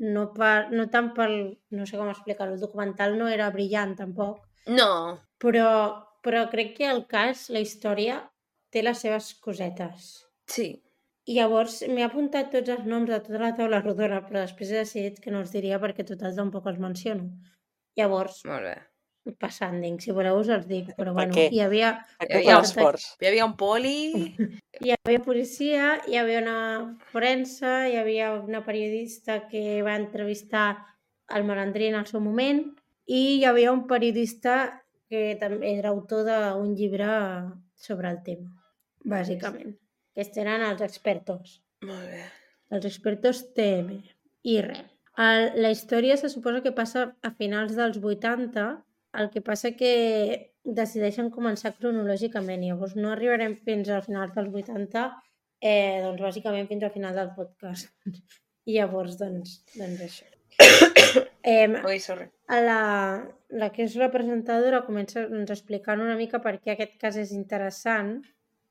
S2: No, per, no tant pel... No sé com explicar-ho. El documental no era brillant, tampoc.
S1: No,
S2: Però, però crec que el cas, la història, té les seves cosetes.
S1: sí.
S2: I llavors m'he apuntat tots els noms de tota la taula rodona, però després he decidit que no els diria perquè total tampoc els menciono. Llavors,
S1: Molt bé.
S2: passant, dic, si voleu us els dic, però
S3: Per
S2: bueno,
S3: què?
S2: hi havia,
S3: Aquest
S1: Hi ha-
S3: esforç.
S1: Hi havia un
S2: <laughs>
S1: poli...
S2: Hi havia policia, hi havia una forensa, hi havia una periodista que va entrevistar el malandrí en el seu moment i hi havia un periodista que també era autor d'un llibre sobre el tema, bàsicament. Aquests eren els expertos,
S1: Molt bé.
S2: els expertos TM. I res. El, la història se suposa que passa a finals dels 80, el que passa que decideixen començar cronològicament, llavors no arribarem fins al final dels 80, eh, doncs bàsicament fins al final del podcast. <laughs> I llavors, doncs, doncs això. <coughs> Em,
S1: Ui, sorry.
S2: a la, la que és representadora comença doncs, explicant una mica per què aquest cas és interessant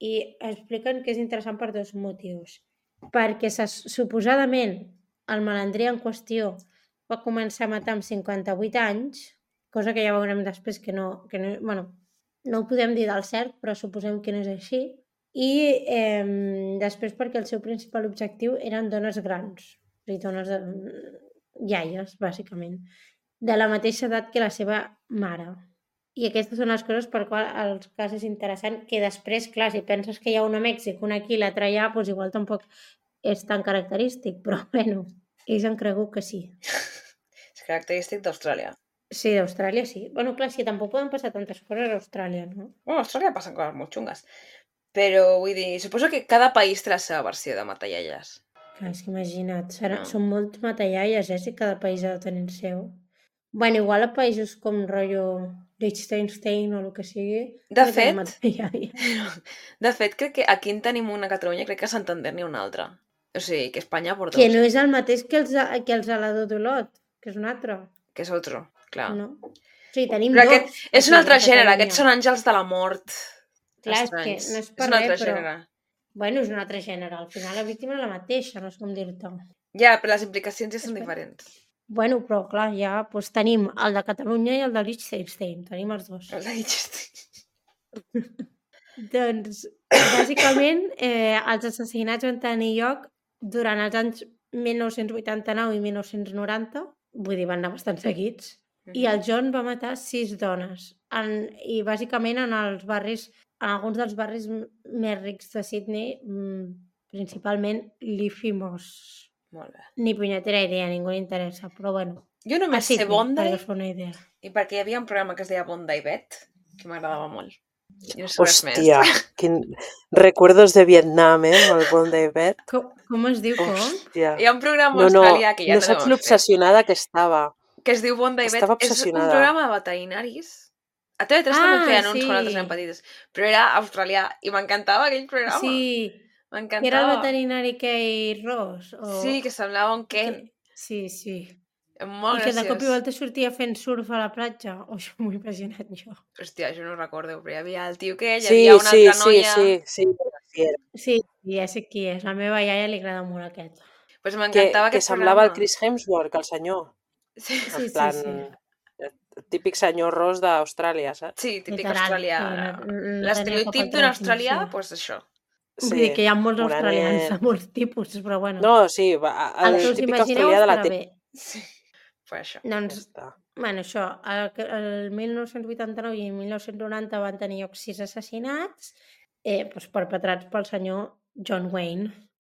S2: i expliquen que és interessant per dos motius. Perquè se, suposadament el malandrí en qüestió va començar a matar amb 58 anys, cosa que ja veurem després que no, que no, bueno, no ho podem dir del cert, però suposem que no és així. i eh, després perquè el seu principal objectiu eren dones grans, o sigui, dones de... iaies, bàsicament, de la mateixa edat que la seva mare. I aquestes són les coses per qual els cas és interessant, que després, clar, si penses que hi ha una a Mèxic, una aquí i l'altra allà, doncs igual tampoc és tan característic, <laughs> però bueno, ells han cregut que sí.
S1: És característic d'Austràlia.
S2: Sí, d'Austràlia sí. Bueno, clar, sí, tampoc poden passar tantes coses a Austràlia, no?
S1: Bueno, a Austràlia passen coses molt xungues. Però vull dir, suposo que cada país té la seva versió de matallalles.
S2: Clar, és que imagina't, serà,
S1: No.
S2: no. són molts matallalles, eh, si cada país ha de tenir el seu. bueno, igual a països com rotllo Liechtenstein o el que sigui...
S1: De fet-
S2: no tenen matallalles.
S1: <laughs> De fet, crec que aquí en tenim una a Catalunya, crec que a Santander n'hi ha una altra. O sigui, que Espanya porta
S2: Que
S1: dos,
S2: no és el mateix que els, de- que els de la d'Olot, que és un altre,
S1: que és otro, clar.
S2: no? O sigui, tenim
S1: Ah. Però
S2: dos.
S1: aquest És un altre gènere, aquests són àngels de la mort.
S2: Clar, és que
S1: estranys.
S2: no és per
S1: un
S2: res,
S1: altre
S2: però-
S1: gènere.
S2: Bueno, és un altre gènere. Al final la víctima és la mateixa, no sé com dir-te.
S1: Ja, però les implicacions ja són
S2: És per-
S1: diferents.
S2: Bueno, però clar, ja doncs, tenim el de Catalunya i el de Liechtenstein. Tenim els dos.
S1: Els de Liechtenstein.
S2: Doncs, bàsicament, eh, els assassinats van tenir lloc durant els anys 1989 i 1990, vull dir, van anar bastant seguits, i el John va matar sis dones, en, i bàsicament en els barris, en alguns dels barris m- més rics de Sydney, mm, principalment l'Ifimos.
S1: <laughs> Molt bé.
S2: Ni punyetera idea, ningú li interessa, però bueno.
S1: Jo
S2: a
S1: només sé
S2: Sydney,
S1: Bondi
S2: perquè us fa una idea.
S1: i perquè hi havia un programa que es deia Bondi Bet, que m'agradava molt. Jo no sé res més. <laughs>
S3: Hòstia, quin... recuerdos de Vietnam, eh, amb el Bondi Bet.
S2: Com, com es diu, com?
S3: Hòstia.
S1: Hi ha un programa
S3: No,
S1: a
S3: no,
S1: Austràlia que ja
S3: no saps
S1: devem fer,
S3: l'obsessionada que estava.
S1: que es diu Bondi Bet.
S3: Estava
S1: És un
S3: obsessionada.
S1: programa de veterinaris. A TV3 també
S2: Ah,
S1: feia anuncis quan altres
S2: sí.
S1: eren petites, però era australià i m'encantava aquell programa.
S2: Sí, que era el
S1: M'encantava.
S2: veterinari Kate Ross. O...
S1: Sí, que semblava un Ken.
S2: Sí, sí.
S1: Molt
S2: I que
S1: graciós.
S2: de cop i volta sortia fent surf a la platja. <laughs> Oh, això m'ho he imaginat jo.
S1: Hòstia, jo no ho recordo, però hi havia el tio que hi
S3: Sí,
S1: havia una
S3: sí,
S1: altra
S3: sí,
S1: noia.
S3: sí, sí, sí. era.
S2: Sí, ja sé qui és. La meva iaia li agrada molt aquest.
S1: Pues
S3: Que,
S1: m'encantava
S3: que
S1: aquest
S3: semblava el
S1: programa.
S3: Chris Hemsworth, el senyor.
S1: Sí,
S2: Sí, sí,
S3: en plan,
S2: sí.
S3: el típic senyor ros d'Austràlia, saps?
S1: sí típic
S2: Literal,
S1: australià.
S2: sí, no- no tenia cap
S1: L'estereotip
S2: altra
S1: d'un australià, doncs
S2: definició.
S1: pues això.
S2: Vull dir que hi ha molts
S3: un
S2: australians
S3: anet.
S2: de molts tipus, però bueno.
S3: No, sí, va, el
S2: que us
S3: típic
S2: imagineu
S3: australià de la
S2: estarà
S3: tele.
S2: bé.
S1: Pues això.
S3: Ja
S2: Doncs,
S3: està.
S2: bueno, això, el, que- el 1989 i 1990 van tenir lloc sis assassinats eh, doncs perpetrats pel senyor John Wayne.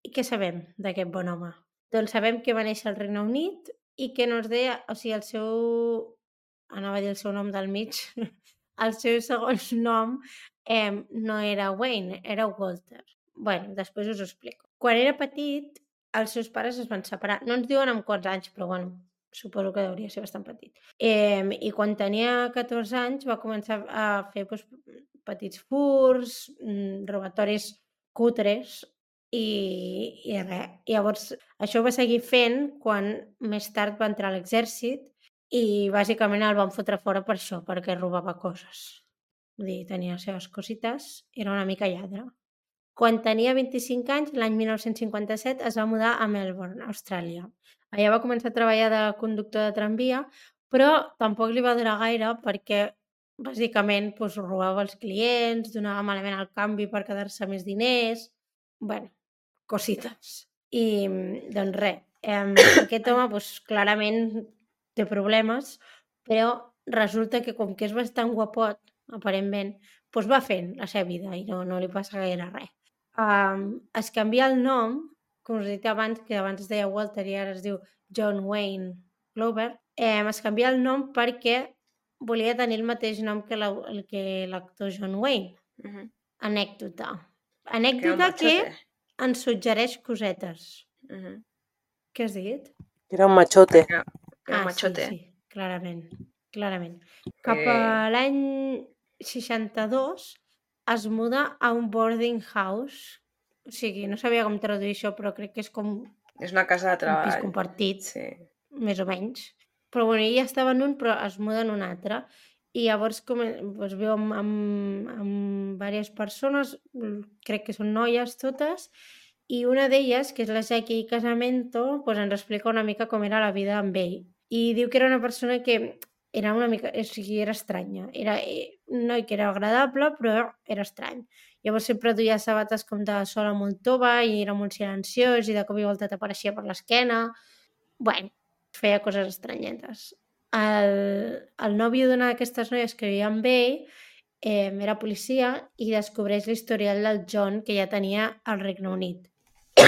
S2: I què sabem d'aquest bon home? Doncs sabem que va néixer al Regne Unit i que no es deia, o sigui, el seu... Anava a dir el seu nom del mig. <laughs> El seu segon <laughs> nom eh, no era Wayne, era Walter. bueno, després us ho explico. Quan era petit, els seus pares es van separar. No ens diuen amb quants anys, però bueno, suposo que hauria de ser bastant petit. Eh, I quan tenia 14 anys va començar a fer doncs, petits furs, mm, robatoris cutres i, i res. Llavors, això ho va seguir fent quan més tard va entrar a l'exèrcit i bàsicament el van fotre fora per això, perquè robava coses. Vull dir, tenia les seves cosites, era una mica lladre. Quan tenia 25 anys, l'any 1957, es va mudar a Melbourne, Austràlia. Allà va començar a treballar de conductor de tramvia, però tampoc li va durar gaire perquè bàsicament doncs, robava els clients, donava malament el canvi per quedar-se més diners... bueno, cosites. I doncs res, em, aquest home doncs, clarament té problemes, però resulta que com que és bastant guapot, aparentment, doncs va fent la seva vida i no, no li passa gaire res. Um, es canvia el nom, com us he dit abans, que abans es deia Walter i ara es diu John Wayne Glover, eh, es canvia el nom perquè volia tenir el mateix nom que la- el que l'actor John Wayne.
S1: Mhm.
S2: Anècdota.
S1: Que era un
S2: Anècdota que
S1: machote.
S2: ens suggereix cosetes.
S1: Mhm.
S2: Què has dit?
S3: Era un machote. Ah,
S1: Era un machote.
S2: Ah, Sí, sí, clarament, clarament. Cap a l'any 62 es muda a un boarding house, o sigui, no sabia com traduir això, però crec que és com un
S1: És una casa de
S2: pis
S1: treball.
S2: compartit,
S1: Sí.
S2: més o menys. Però bueno, ell ja estava en un, però es muda en un altre. I llavors com, es viu amb, amb, amb diverses persones, mm, crec que són noies totes, i una d'elles, que és la Jackie Casamento, pues ens explica una mica com era la vida amb ell. I diu que era una persona que era una mica... O sigui, era estranya. Era eh, un noi que era agradable, però era estrany. Llavors sempre duia sabates com de sola molt tova i era molt silenciós i de cop i volta t'apareixia per l'esquena. Bueno, feia coses estranyetes. El, el nòvio d'una d'aquestes noies que vivia amb ell eh, era policia i descobreix l'historial del John que ja tenia al Regne Unit.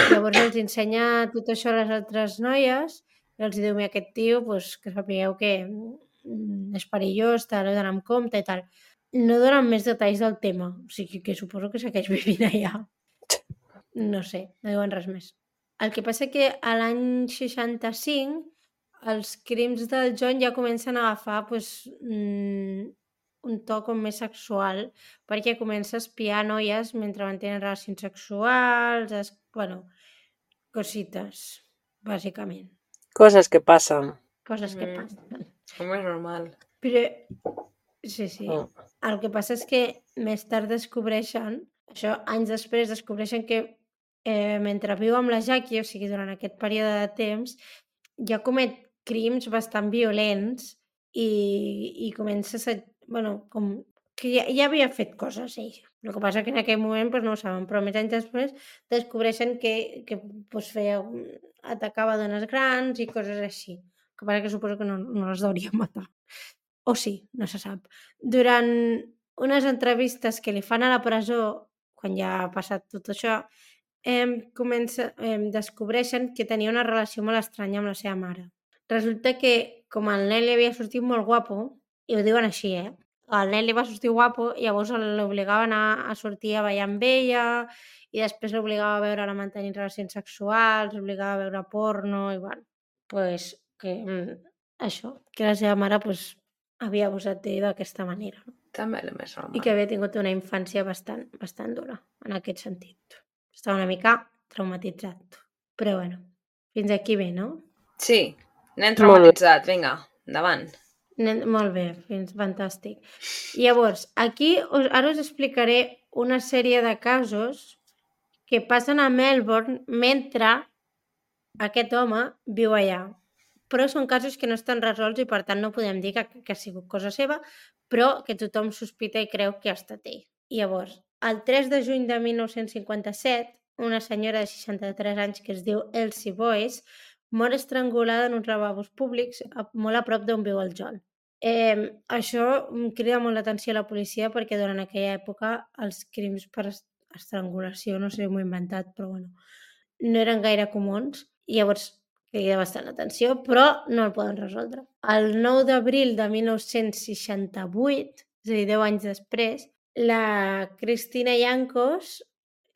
S2: Llavors els ensenya tot això a les altres noies i els diu, mira, aquest tio, pues, que sapigueu que mm, és perillós, t'heu d'anar amb compte i tal. No donen més detalls del tema, o sigui que suposo que segueix <laughs> vivint allà. No sé, no diuen res més. El que passa que a l'any 65 els crims del John ja comencen a agafar pues, mm, un to com més sexual, perquè comença a espiar noies mentre mantenen relacions sexuals, es... bueno, cosites, bàsicament.
S3: Coses que passen.
S2: Coses que
S1: Mm.
S2: passen.
S1: Com és normal.
S2: Però, sí, sí.
S3: Mm.
S2: El que passa és que més tard descobreixen, això anys després descobreixen que eh, mentre viu amb la Jackie, o sigui, durant aquest període de temps, ja comet crims bastant violents i, i comença a... asset- bueno, com que ja, ja havia fet coses ell. El que passa que en aquell moment pues, no ho saben, però més anys després descobreixen que, que pues, feia, atacava dones grans i coses així. El que passa que suposo que no, no les deuria matar. O sí, no se sap. Durant unes entrevistes que li fan a la presó, quan ja ha passat tot això, em, comença, em, descobreixen que tenia una relació molt estranya amb la seva mare. Resulta que, com el nen li havia sortit molt guapo, i ho diuen així, eh? El nen li va sortir guapo, i llavors l'obligaven a, a sortir a ballar amb ella, i després l'obligava a veure-la mantenir relacions sexuals, l'obligava a veure porno, i bueno, pues, que, mm, això, que la seva mare pues, havia abusat d'ell d'aquesta manera. No?
S1: També és el més normal.
S2: I que havia tingut una infància bastant, bastant dura, en aquest sentit. Estava una mica traumatitzat. Però bueno, fins aquí bé, no?
S1: Sí, nen
S3: Molt bé.
S1: traumatitzat, vinga, endavant.
S2: Nen, molt bé, fins fantàstic. Llavors, aquí us, ara us explicaré una sèrie de casos que passen a Melbourne mentre aquest home viu allà. Però són casos que no estan resolts i per tant no podem dir que, que ha sigut cosa seva, però que tothom sospita i creu que ha estat ell. Llavors, el 3 de juny de 1957, una senyora de 63 anys que es diu Elsie Boyce mor estrangulada en uns lavabos públics a, molt a prop d'on viu el John. Eh, això em crida molt l'atenció a la policia perquè durant aquella època els crims per est- estrangulació, no sé, m'ho he inventat, però bueno, no eren gaire comuns i llavors crida bastant l'atenció, però no el poden resoldre. El 9 d'abril de 1968, és a dir, 10 anys després, la Cristina Llancos,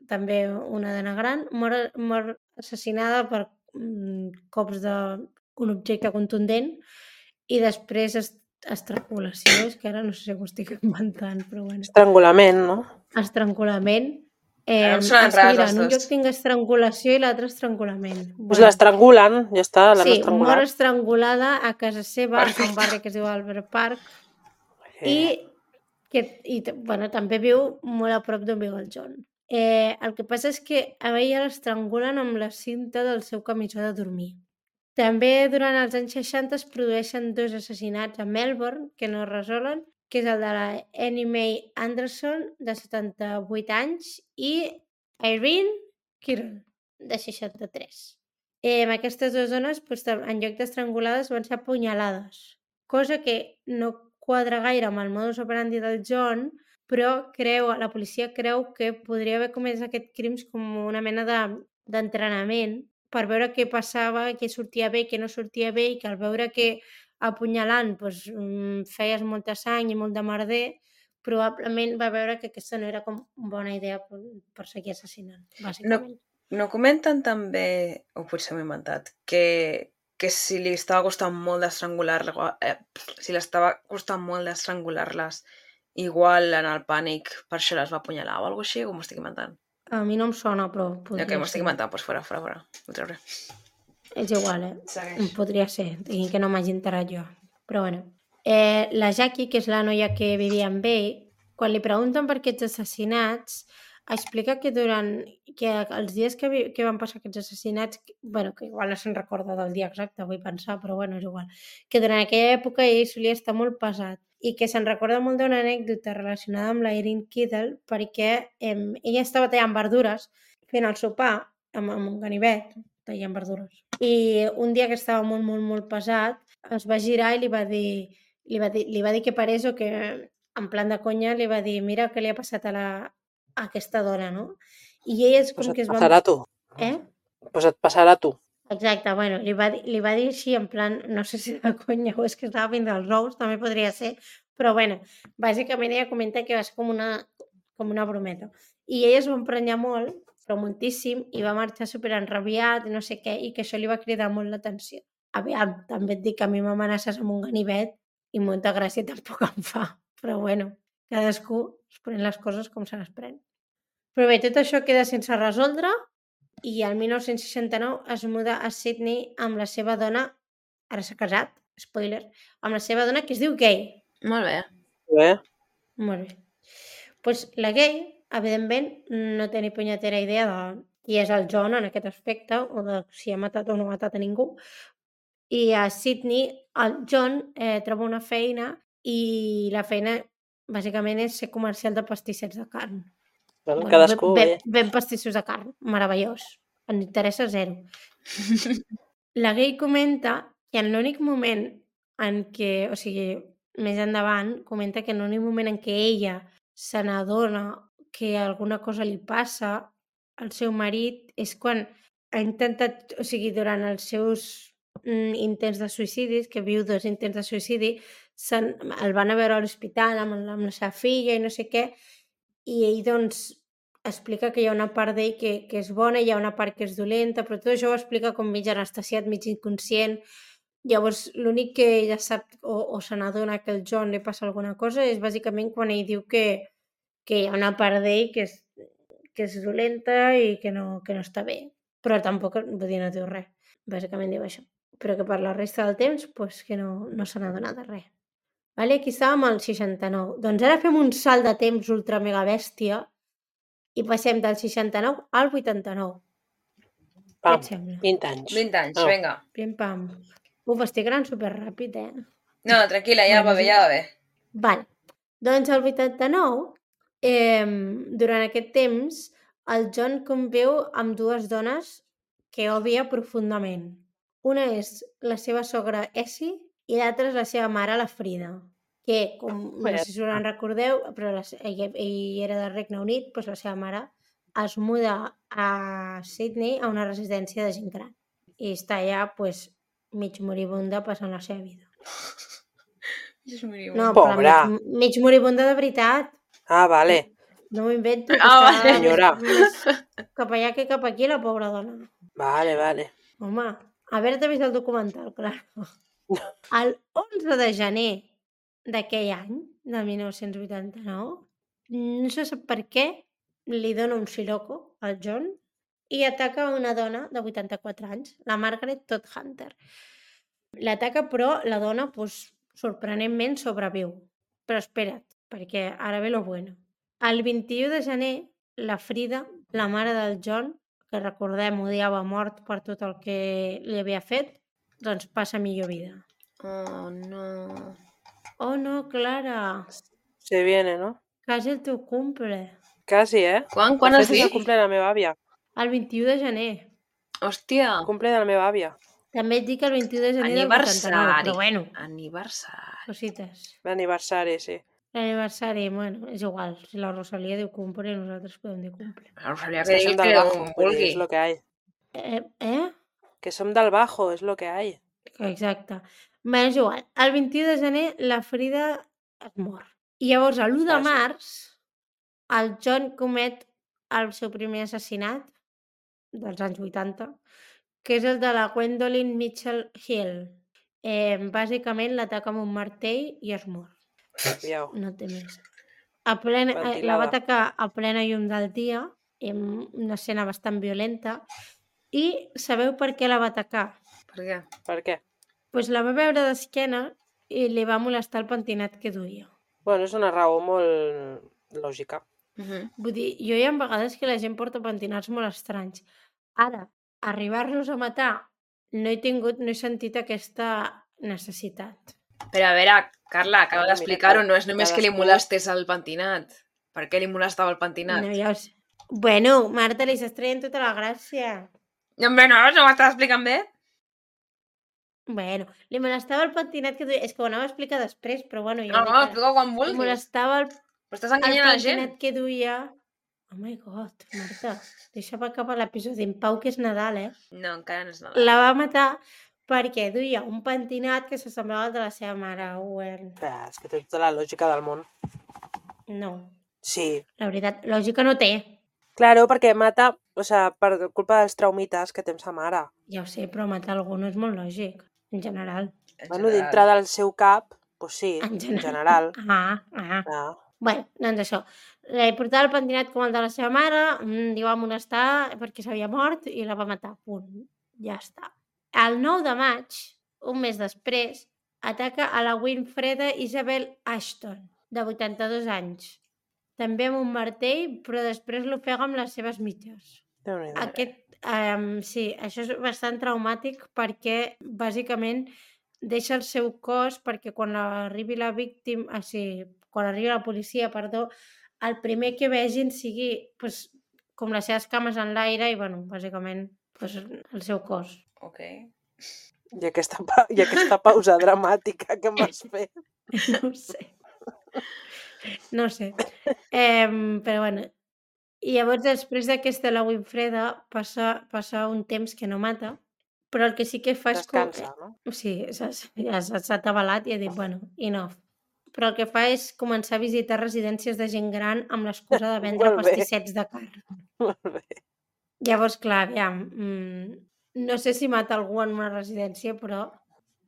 S2: també una dona gran, mor, mor assassinada per mm, cops d'un objecte contundent i després est estrangulació, és que ara no sé si ho estic inventant, però bueno,
S3: Estrangulament, no?
S2: estrangulament. Eh,
S1: Ara em sonen
S2: és que,
S1: rares
S2: mira,
S1: les
S2: en un
S1: dues.
S2: lloc tinc estrangulació i l'altre estrangulament.
S3: Pues l'estrangulen, ja està, l'han
S2: sí, mor
S3: estrangulat.
S2: estrangulada a casa seva, a
S1: Perfecte.
S2: un barri que es diu Albert Park,
S3: Eh,
S2: i, que, i t- bueno, també viu molt a prop d'on viu el John. Eh, el que passa és que a ella l'estrangulen amb la cinta del seu camisó de dormir. També durant els anys 60 es produeixen dos assassinats a Melbourne que no es resolen, que és el de la Annie Mae Anderson, de 78 anys, i Irene Kirol, de 63. Eh, aquestes dues dones, doncs, tam- en lloc d'estrangulades, van ser apunyalades cosa que no quadra gaire amb el modus operandi del John, però creu, la policia creu que podria haver comès aquest crims com una mena de- d'entrenament de, per veure què passava, què sortia bé, què no sortia bé, i que al veure que apunyalant doncs, mm, feies molta sang i molt de merder, probablement va veure que aquesta no era com bona idea per, per seguir assassinant, bàsicament.
S1: No comenten també, o potser m'ho he inventat, que, que si li estava costant molt d'estrangular-la, eh, si l'estava costant molt d'estrangular-les, igual en el pànic, per això les va apunyalar o alguna cosa així, o m'ho estic inventant?
S2: No. A mi no em sona, però
S1: Ja
S2: podria
S1: que m'ho estic
S2: ser.
S1: inventant, doncs fora, fora, fora. Ho trauré.
S2: És igual, eh?
S1: Segueix.
S2: Podria ser, i que no m'hagi enterat jo. Però bueno. Eh, la Jackie, que és la noia que vivia amb ell, quan li pregunten per aquests assassinats, explica que durant que els dies que, vi, que van passar aquests assassinats, que, bueno, que igual no se'n recorda del dia exacte, vull pensar, però bueno, és igual, que durant aquella època ell solia estar molt pesat i que se'n recorda molt d'una anècdota relacionada amb la Irene Kittle perquè em, ella estava tallant verdures fent el sopar amb, amb un ganivet tallant verdures. I un dia que estava molt, molt, molt pesat, es va girar i li va dir, li va dir, li va dir que parés o que, en plan de conya, li va dir mira què li ha passat a, la, a aquesta dona, no? I ella és com
S3: Pues et
S2: que es va...
S3: passarà a tu.
S2: Eh?
S3: Pues et passarà a tu.
S2: Exacte, bueno, li va, dir- li va dir així, en plan, no sé si de conya o és que estava fent dels ous, també podria ser, però bueno, bàsicament ella comenta que va ser com una, com una brometa. I ella es va emprenyar molt, però moltíssim, i va marxar super enrabiat, no sé què, i que això li va cridar molt l'atenció. Aviam, també et dic que a mi m'amenaces amb un ganivet i molta gràcia tampoc em fa, però bueno, cadascú es pren les coses com se les pren. Però bé, tot això queda sense resoldre, i el 1969 es muda a Sydney amb la seva dona, ara s'ha casat, spoiler, amb la seva dona que es diu Gay.
S1: Molt bé.
S3: Eh?
S2: Molt bé. pues la Gay, evidentment, no té ni punyetera idea de qui és el John en aquest aspecte o de si ha matat o no ha matat a ningú. I a Sydney el John eh, troba una feina i la feina bàsicament és ser comercial de pastissets de carn.
S3: Bueno, cadascú...
S2: Ben,
S3: eh?
S2: ben pastissos de carn, meravellós. En interessa zero. La Gay comenta que en l'únic moment en què, o sigui, més endavant, comenta que en l'únic moment en què ella se n'adona que alguna cosa li passa al seu marit és quan ha intentat, o sigui, durant els seus mm, intents de suïcidis, que viu dos intents de suïcidi, se n- el van a veure a l'hospital amb, la- amb la seva filla i no sé què, i ell, doncs, explica que hi ha una part d'ell que, que és bona, hi ha una part que és dolenta, però tot això ho explica com mig anestesiat, mig inconscient. Llavors, l'únic que ella sap o, o se n'adona que al John li passa alguna cosa és bàsicament quan ell diu que, que hi ha una part d'ell que, és, que és dolenta i que no, que no està bé. Però tampoc, vull dir, no diu res. Bàsicament diu això. Però que per la resta del temps, pues, que no, no se n'adona de res. Vale, aquí estàvem al 69. Doncs ara fem un salt de temps ultra mega bèstia i passem del 69 al 89. Pam. Què
S3: Pam,
S1: eh.
S2: et sembla?
S3: 20 Ah, anys.
S1: 20 anys,
S2: Oh.
S3: Ah.
S1: vinga.
S2: Pim, pam. Uf, estic gran superràpid, eh?
S1: No, tranquil·la, ja va bé, ja va bé.
S2: Vale. Doncs el 89, eh, durant aquest temps, el John conviu amb dues dones que odia profundament. Una és la seva sogra Essie i l'altra és la seva mare, la Frida, que, com no sé si us en recordeu, però la, se- ell, ell era del Regne Unit, doncs la seva mare es muda a Sydney a una residència de gent gran i està allà pues, mig moribunda passant la seva vida.
S1: És molt
S2: No,
S3: Pobra.
S2: però mig, mig moribunda de veritat.
S3: Ah, vale.
S2: No m'ho invento.
S1: <laughs> Ah,
S2: Ah,
S1: vale.
S3: Senyora.
S2: Més, més cap allà que cap aquí, la pobra dona.
S3: Vale, vale.
S2: Home, haver-te vist el documental, clar. El 11 de gener d'aquell any, de 1989, no se sap per què, li dona un siroco al John i ataca una dona de 84 anys, la Margaret Todd Hunter. L'ataca, però la dona, pues, sorprenentment, sobreviu. Però espera't, perquè ara ve lo bueno. El 21 de gener, la Frida, la mare del John, que recordem odiava a mort per tot el que li havia fet, doncs passa millor vida.
S1: Oh, no.
S2: Oh no, Clara,
S3: Se viene, no?
S2: quasi el teu cumple.
S3: Quasi, eh?
S1: Quan, quan
S3: De
S1: has
S3: fet, és el
S1: dit?
S3: cumple de la meva àvia.
S2: El 21 de gener.
S1: Hòstia,
S3: El cumple de la meva àvia.
S2: També et dic el 21 de gener del 89,
S1: aniversari.
S2: però bueno,
S1: Aniversari.
S2: cosites.
S3: L'aniversari, sí.
S2: L'aniversari, bueno, és igual. Si la Rosalia diu cumple, nosaltres podem dir cumple.
S1: Bueno, Rosalia,
S3: Que
S1: que
S3: som
S1: digui
S3: del
S1: que ho
S3: bajo, vull dir,
S1: vulgui.
S3: és lo que hay.
S2: Eh? eh?
S3: Que som del bajo, és lo que hay.
S2: Exacte. Bé, és igual. El 21 de gener la Frida es mor. I llavors, l'1 de
S3: Vaja.
S2: març, el John comet el seu primer assassinat dels anys 80, que és el de la Gwendolyn Mitchell Hill. Eh, bàsicament l'ataca amb un martell i es mor.
S3: Aviau.
S2: No té més. A plena, eh, la va
S3: Ventilada.
S2: atacar a plena llum del dia, en una escena bastant violenta, i sabeu per què la va atacar?
S1: Per què?
S3: Per què?
S2: pues la va veure d'esquena i li va molestar el pentinat que duia.
S3: Bueno, és una raó molt lògica.
S1: Mhm.
S2: Vull dir, jo hi ha vegades que la gent porta pentinats molt estranys. Ara, arribar-los a matar, no he tingut, no he sentit aquesta necessitat.
S1: Però a veure, Carla, acaba
S4: Bueno,
S1: d'explicar-ho,
S4: mira,
S1: no és només que li
S4: cadascú-
S1: molestes el pentinat. Per què li molestava el pentinat?
S2: No, ja ho sé. Bueno, Marta, li estàs traient tota la gràcia.
S1: No, Hombre, no, no ho estàs explicant bé?
S2: Bueno, li molestava el pentinat que... du- És que ho anava a explicar després, però bueno...
S1: No,
S2: Ja
S1: no,
S2: ho dic ara.
S1: explica quan
S2: Li
S1: vulguis.
S2: molestava el
S1: Però estàs
S2: el
S1: enganyant la gent.
S2: pentinat que duia... Oh my god, Marta, deixa per cap a l'episodi en pau que és Nadal, eh?
S1: No, encara no és Nadal.
S2: La va matar perquè duia un pentinat que s'assemblava al de la seva mare, Owen.
S3: Clar, és que té tota la lògica del món.
S2: No,
S3: Sí.
S2: la veritat, lògica no té.
S3: Claro, perquè mata, o sea, per culpa dels traumites que té amb sa mare.
S2: Ja ho sé, però matar algú no és molt lògic, en general.
S1: En
S3: Bueno,
S1: general.
S3: dintre del seu cap, pues sí,
S2: En
S3: en
S2: general.
S3: general.
S2: <laughs> Ah, ah.
S3: Ah,
S2: Bueno, doncs això. Li portava el pentinat com el de la seva mare, mm, li va molestar perquè s'havia mort i la va matar. Punt. Ja està. El 9 de maig, un mes després, ataca a la Winfreda Isabel Ashton, de 82 anys. També amb un martell, però després l'ofega amb les seves mitges.
S3: déu nhi
S2: Aquest, um, sí, això és bastant traumàtic perquè bàsicament deixa el seu cos perquè quan arribi la víctima, o sigui, quan arribi la policia, perdó, el primer que vegin sigui pues, com les seves cames en l'aire i, bueno, bàsicament, pues, el seu cos. <laughs>
S1: Ok.
S3: I aquesta, pa- I aquesta pausa dramàtica que
S1: <laughs>
S3: m'has fet.
S2: No ho sé. No ho sé. Eh, però bueno. I llavors, després d'aquesta la Winfreda, passa, passa un temps que no mata, però el que sí que fa és... com-
S3: Descansa, no?
S2: Sí, s'ha ja s'ha- s'ha atabalat i ha dit, bueno, enough. Però el que fa és començar a visitar residències de gent gran amb l'excusa de vendre
S3: Molt bé.
S2: pastissets de carn.
S3: Molt bé.
S2: Llavors, clar, aviam, mm, no sé si mata algú en una residència, però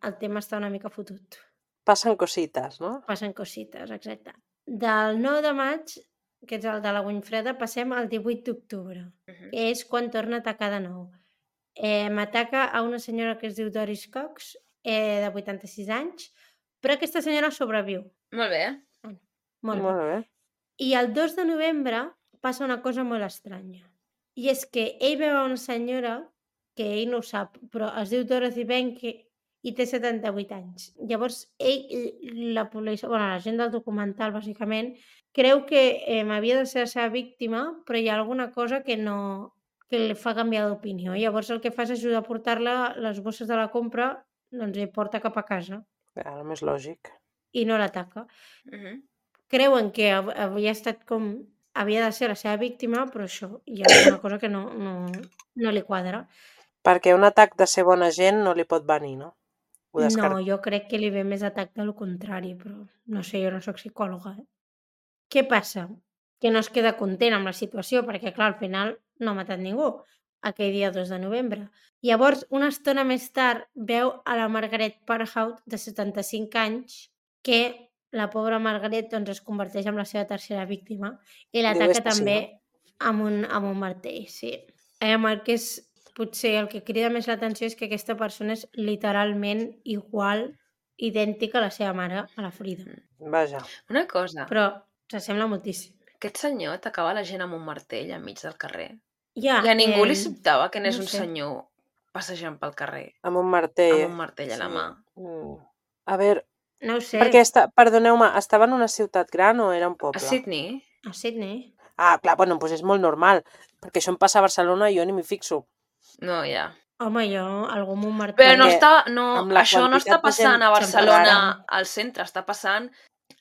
S2: el tema està una mica fotut.
S3: Passen cosites, no?
S2: passen cosites, exacte. Del 9 de maig, que és el de la Winfreda, passem al 18 d'octubre,
S1: Mhm.
S2: que és quan torna a atacar de nou. Eh, M'ataca a una senyora que es diu Doris Cox, eh, de 86 anys, però aquesta senyora sobreviu.
S1: Molt bé.
S2: Molt bé.
S3: Molt bé.
S2: I el 2 de novembre passa una cosa molt estranya. I és que ell veu una senyora que ell no ho sap, però es diu Dorothy Benke i té 78 anys. Llavors, ell, i la policia, bueno, la gent del documental, bàsicament, creu que eh, havia de ser la seva víctima, però hi ha alguna cosa que no que li fa canviar d'opinió. Llavors el que fa és ajudar a portar-la les bosses de la compra, doncs li porta cap a casa
S3: Clar, no més lògic.
S2: i no l'ataca
S1: Mhm.
S2: creuen que hav- havia estat com havia de ser la seva víctima, però això hi ha una cosa que no, no, no li quadra.
S3: Perquè un atac de ser bona gent no li pot venir, no? Ho
S2: No,
S3: descartem.
S2: jo crec que li ve més atac del contrari, però no sé, jo no sóc psicòloga. Eh? Què passa? Que no es queda content amb la situació, perquè clar, al final no ha matat ningú aquell dia 2 de novembre. Llavors, una estona més tard, veu a la Margaret Parhout, de 75 anys, que la pobra Margaret doncs, es converteix en la seva tercera víctima i l'ataca
S3: "Esta sí,
S2: també amb, un, amb un martell, sí. Eh, amb el que és, potser el que crida més l'atenció és que aquesta persona és literalment igual, idèntica a la seva mare, a la Frida.
S3: No. Vaja.
S1: Una cosa,
S2: Però s'assembla moltíssim.
S1: aquest senyor atacava la gent amb un martell enmig del carrer.
S2: Ja,
S1: I a ningú li
S2: em,
S1: sobtava que n'és
S2: Ah, eh, no
S1: un
S2: sé.
S1: senyor passejant pel carrer
S3: Amb un martell.
S1: amb un martell a la
S3: sí.
S1: mà.
S3: Mm. A veure,
S2: No ho sé,
S3: perquè, esta... perdoneu-me, estava en una ciutat gran o era un
S1: A
S3: poble?
S1: Sydney?
S2: a Sydney.
S3: Ah, clar, bueno, doncs és molt normal, perquè això em passa a Barcelona i jo ni m'hi fixo.
S1: <laughs> No, ja.
S2: Home, jo, algú amb un martell...
S1: Però no
S3: Perquè
S1: està, no,
S3: amb la
S1: això no està
S3: quantitat de gent
S1: passant a Barcelona
S3: separada.
S1: al centre, està passant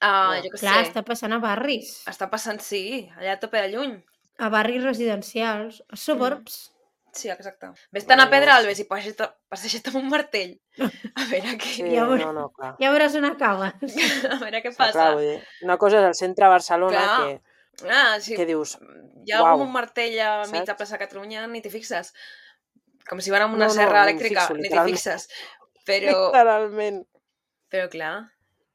S1: a,
S3: No.
S1: jo què
S2: Clar,
S1: sé,
S2: està passant a barris,
S1: està passant, sí, allà a tope de lluny.
S2: a barris residencials, a suburbs.
S3: Mm.
S1: Sí, exacte. Ves tan a
S3: Bueno,
S1: Pedralbes i passeja't passeja't amb un martell.
S2: No.
S1: A veure què,
S3: Sí,
S2: Ja veuré.
S3: Eh, no, no, clar.
S2: Ja veuràs on acaba.
S1: <laughs> a veure què
S3: Està
S1: passa.
S3: Clar, vull dir, una cosa és el centre de Barcelona
S1: Clar.
S3: que,
S1: Ah, sí,
S3: que dius,
S1: hi ha algú
S3: Uau.
S1: amb un martell a mig de
S3: Saps?
S1: plaça Catalunya, ni t'hi fixes. Com si van amb una
S3: No, no,
S1: serra
S3: no em
S1: elèctrica,
S3: fixo,
S1: ni t'hi
S3: literalment.
S1: fixes.
S3: <laughs>
S1: Però,
S3: literalment.
S1: però clar,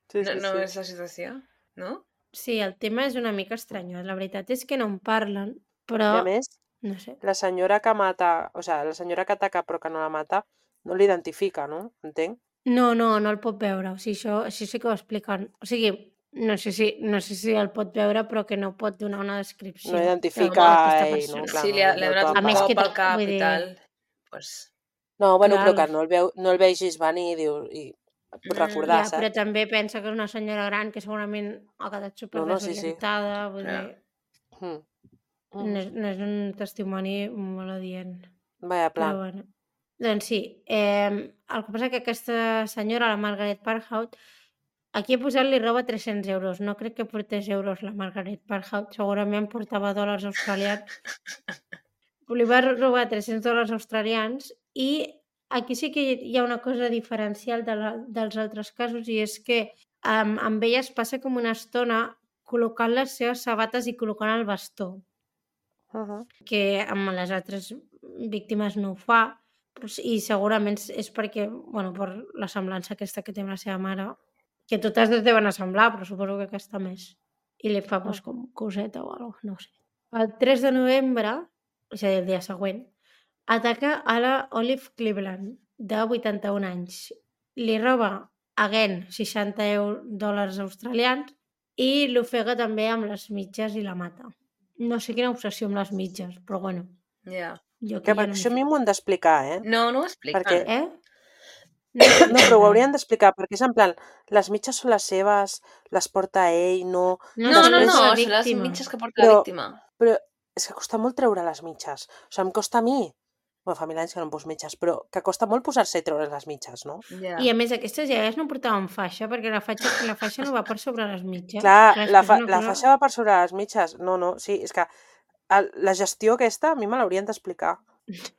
S3: Sí,
S1: no,
S3: sí,
S1: no
S3: sí.
S1: és la situació, no?
S2: Sí, el tema és una mica estrany. eh? La veritat és que no en parlen,
S3: I
S2: però...
S3: a més,
S2: No sé.
S3: la senyora que mata, o sigui, la senyora que ataca però que no la mata, no l'identifica, no? Entenc?
S2: No, no, no el pot veure. O sigui, això, això sí que ho expliquen. O sigui, no sé, si, no sé si el pot veure, però que no pot donar una descripció.
S3: No identifica
S2: d'aquesta
S3: ell, no?
S2: persona.
S3: Clar,
S1: sí,
S3: no,
S1: li ha,
S3: no
S1: li ha
S3: el
S1: donat
S3: topa.
S1: un
S2: A més que
S1: cop al
S2: tot-
S1: cap
S2: vull
S1: i
S2: dir-
S1: tal. Pues,
S3: No, bueno,
S2: Clar.
S3: Mm, però que no el, veu, no el vegis venir i, dius, i et pot recordar,
S2: ja,
S3: saps?
S2: però també pensa que és una senyora gran que segurament ha quedat super
S3: No, no, sí, sí.
S2: desorientada. No,
S1: Ja.
S3: Mm.
S2: vull dir, no, és, no és un testimoni molt adient.
S3: Vaya
S2: Però
S3: plan.
S2: bueno. Doncs sí, eh, el que passa és que aquesta senyora, la Margaret Parhout, aquí he posat-li roba 300 euros. No crec que portés euros la Margaret Parhout. Segurament portava dòlars australians. Li va robar 300 dòlars australians i aquí sí que hi ha una cosa diferencial de la, dels altres casos i és que um, amb ella es passa com una estona col·locant les seves sabates i col·locant el bastó
S3: Uh -huh.
S2: que amb les altres víctimes no ho fa però s- i segurament és- és perquè, bueno, per la semblança aquesta que té amb la seva mare, que totes dues deuen semblar, però suposo que aquesta més. I li fa pues, com coseta o alguna no ho sé. El 3 de novembre, és a dir, el dia següent, ataca a la Olive Cleveland, de 81 anys. Li roba, again, 60 eur, dòlars australians i l'ofega també amb les mitges i la mata. No sé quina obsessió amb les mitges, però bueno,
S1: Ja.
S2: jo
S3: Que
S2: ja
S3: per
S2: no m'hi
S3: això a mi m'ho han d'explicar, eh?
S1: No, no ho expliquen.
S2: fico.
S1: Perquè...
S2: Eh?
S3: <coughs> No, però ho haurien d'explicar, perquè és en plan, les mitges són les seves, les porta ell, no...
S1: No, no, no,
S3: Després
S1: no, són
S2: la
S1: les
S2: víctima.
S1: mitges que porta la
S3: Però-
S1: víctima.
S3: És que costa molt treure les mitges. O sigui, em costa a mi... Bueno, fa mil anys que no em poso mitges, però que costa molt posar-se i treure les mitges, no?
S1: Ja.
S2: I a més, aquestes iaies no portaven faixa, perquè la faixa, la faixa no va per sobre les mitges.
S3: Clar, la,
S2: és
S3: fa,
S2: una
S3: la
S2: cosa-
S3: faixa va per sobre les mitges. No, no, sí, és que el, la gestió aquesta a mi me l'haurien d'explicar,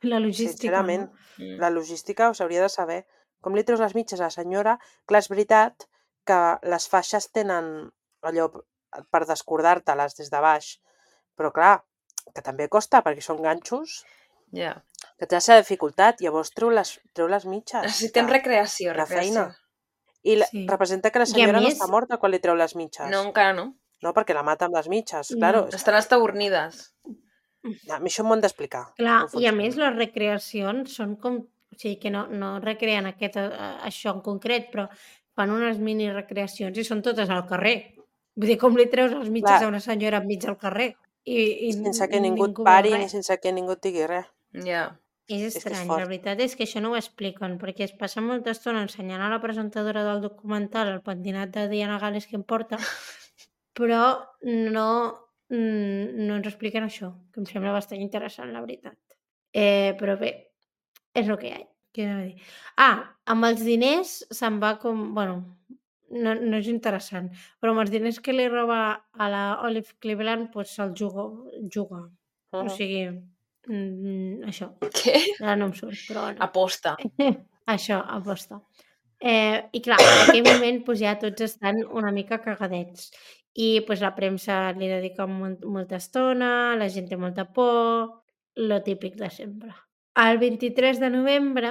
S2: La logística.
S3: sincerament.
S2: No?
S1: Mm.
S3: La logística ho s'hauria de saber. Com li treus les mitges a la senyora? Clar, és veritat que les faixes tenen allò p- per descordar-te-les des de baix, però clar, que també costa perquè són ganxos
S1: Ja.
S3: que té la seva dificultat, llavors treu les, treu les mitges.
S1: Necessitem
S3: que-
S1: recreació,
S3: la
S1: recreació.
S3: feina. I la,
S2: Sí. representa
S3: representa que
S2: I
S3: la
S2: a
S3: senyora no
S2: més-
S3: està morta quan li treu les mitges.
S1: No, encara no.
S3: No, perquè la mata amb les mitges.
S2: No.
S3: Claro, és
S1: Estan estabornides.
S3: A mi això m'ho han d'explicar.
S2: Clar,
S3: No
S2: i a
S3: fots-
S2: més les recreacions són com... O sigui, que no, no recreen aquest, eh, això en concret, però fan unes mini recreacions i són totes al carrer. Vull dir, com li treus les mitges a
S3: Clar.
S2: una senyora enmig al carrer? I, i
S3: Sense que ningú et
S2: veu
S3: pari
S2: res.
S3: ni sense que ningú et digui res.
S1: Ja.
S2: És
S3: que és
S2: estrany, la
S3: fort.
S2: veritat és que això no ho expliquen, perquè es passa molta estona ensenyant a la presentadora del documental el pentinat de Diana Gales que em
S3: <laughs>
S2: porta, però no, mm, no ens expliquen això, que em sembla bastant interessant, la veritat. Eh, però bé, és el que hi ha. Què anava a dir? Ah, amb els diners se'n va com... Bueno, no, no és interessant, però amb els diners que li roba a la Olive Cleveland, doncs se'l juga. juga.
S3: Mhm.
S2: O sigui, mm, això.
S1: Què?
S2: Ara no em surt, però bueno.
S1: Aposta.
S2: Això, aposta. Eh, I clar, en aquell moment pues, ja tots estan una mica cagadets. I pues, la premsa li dedica mol molta estona, la gent té molta por, lo típic de sempre. El 23 de novembre,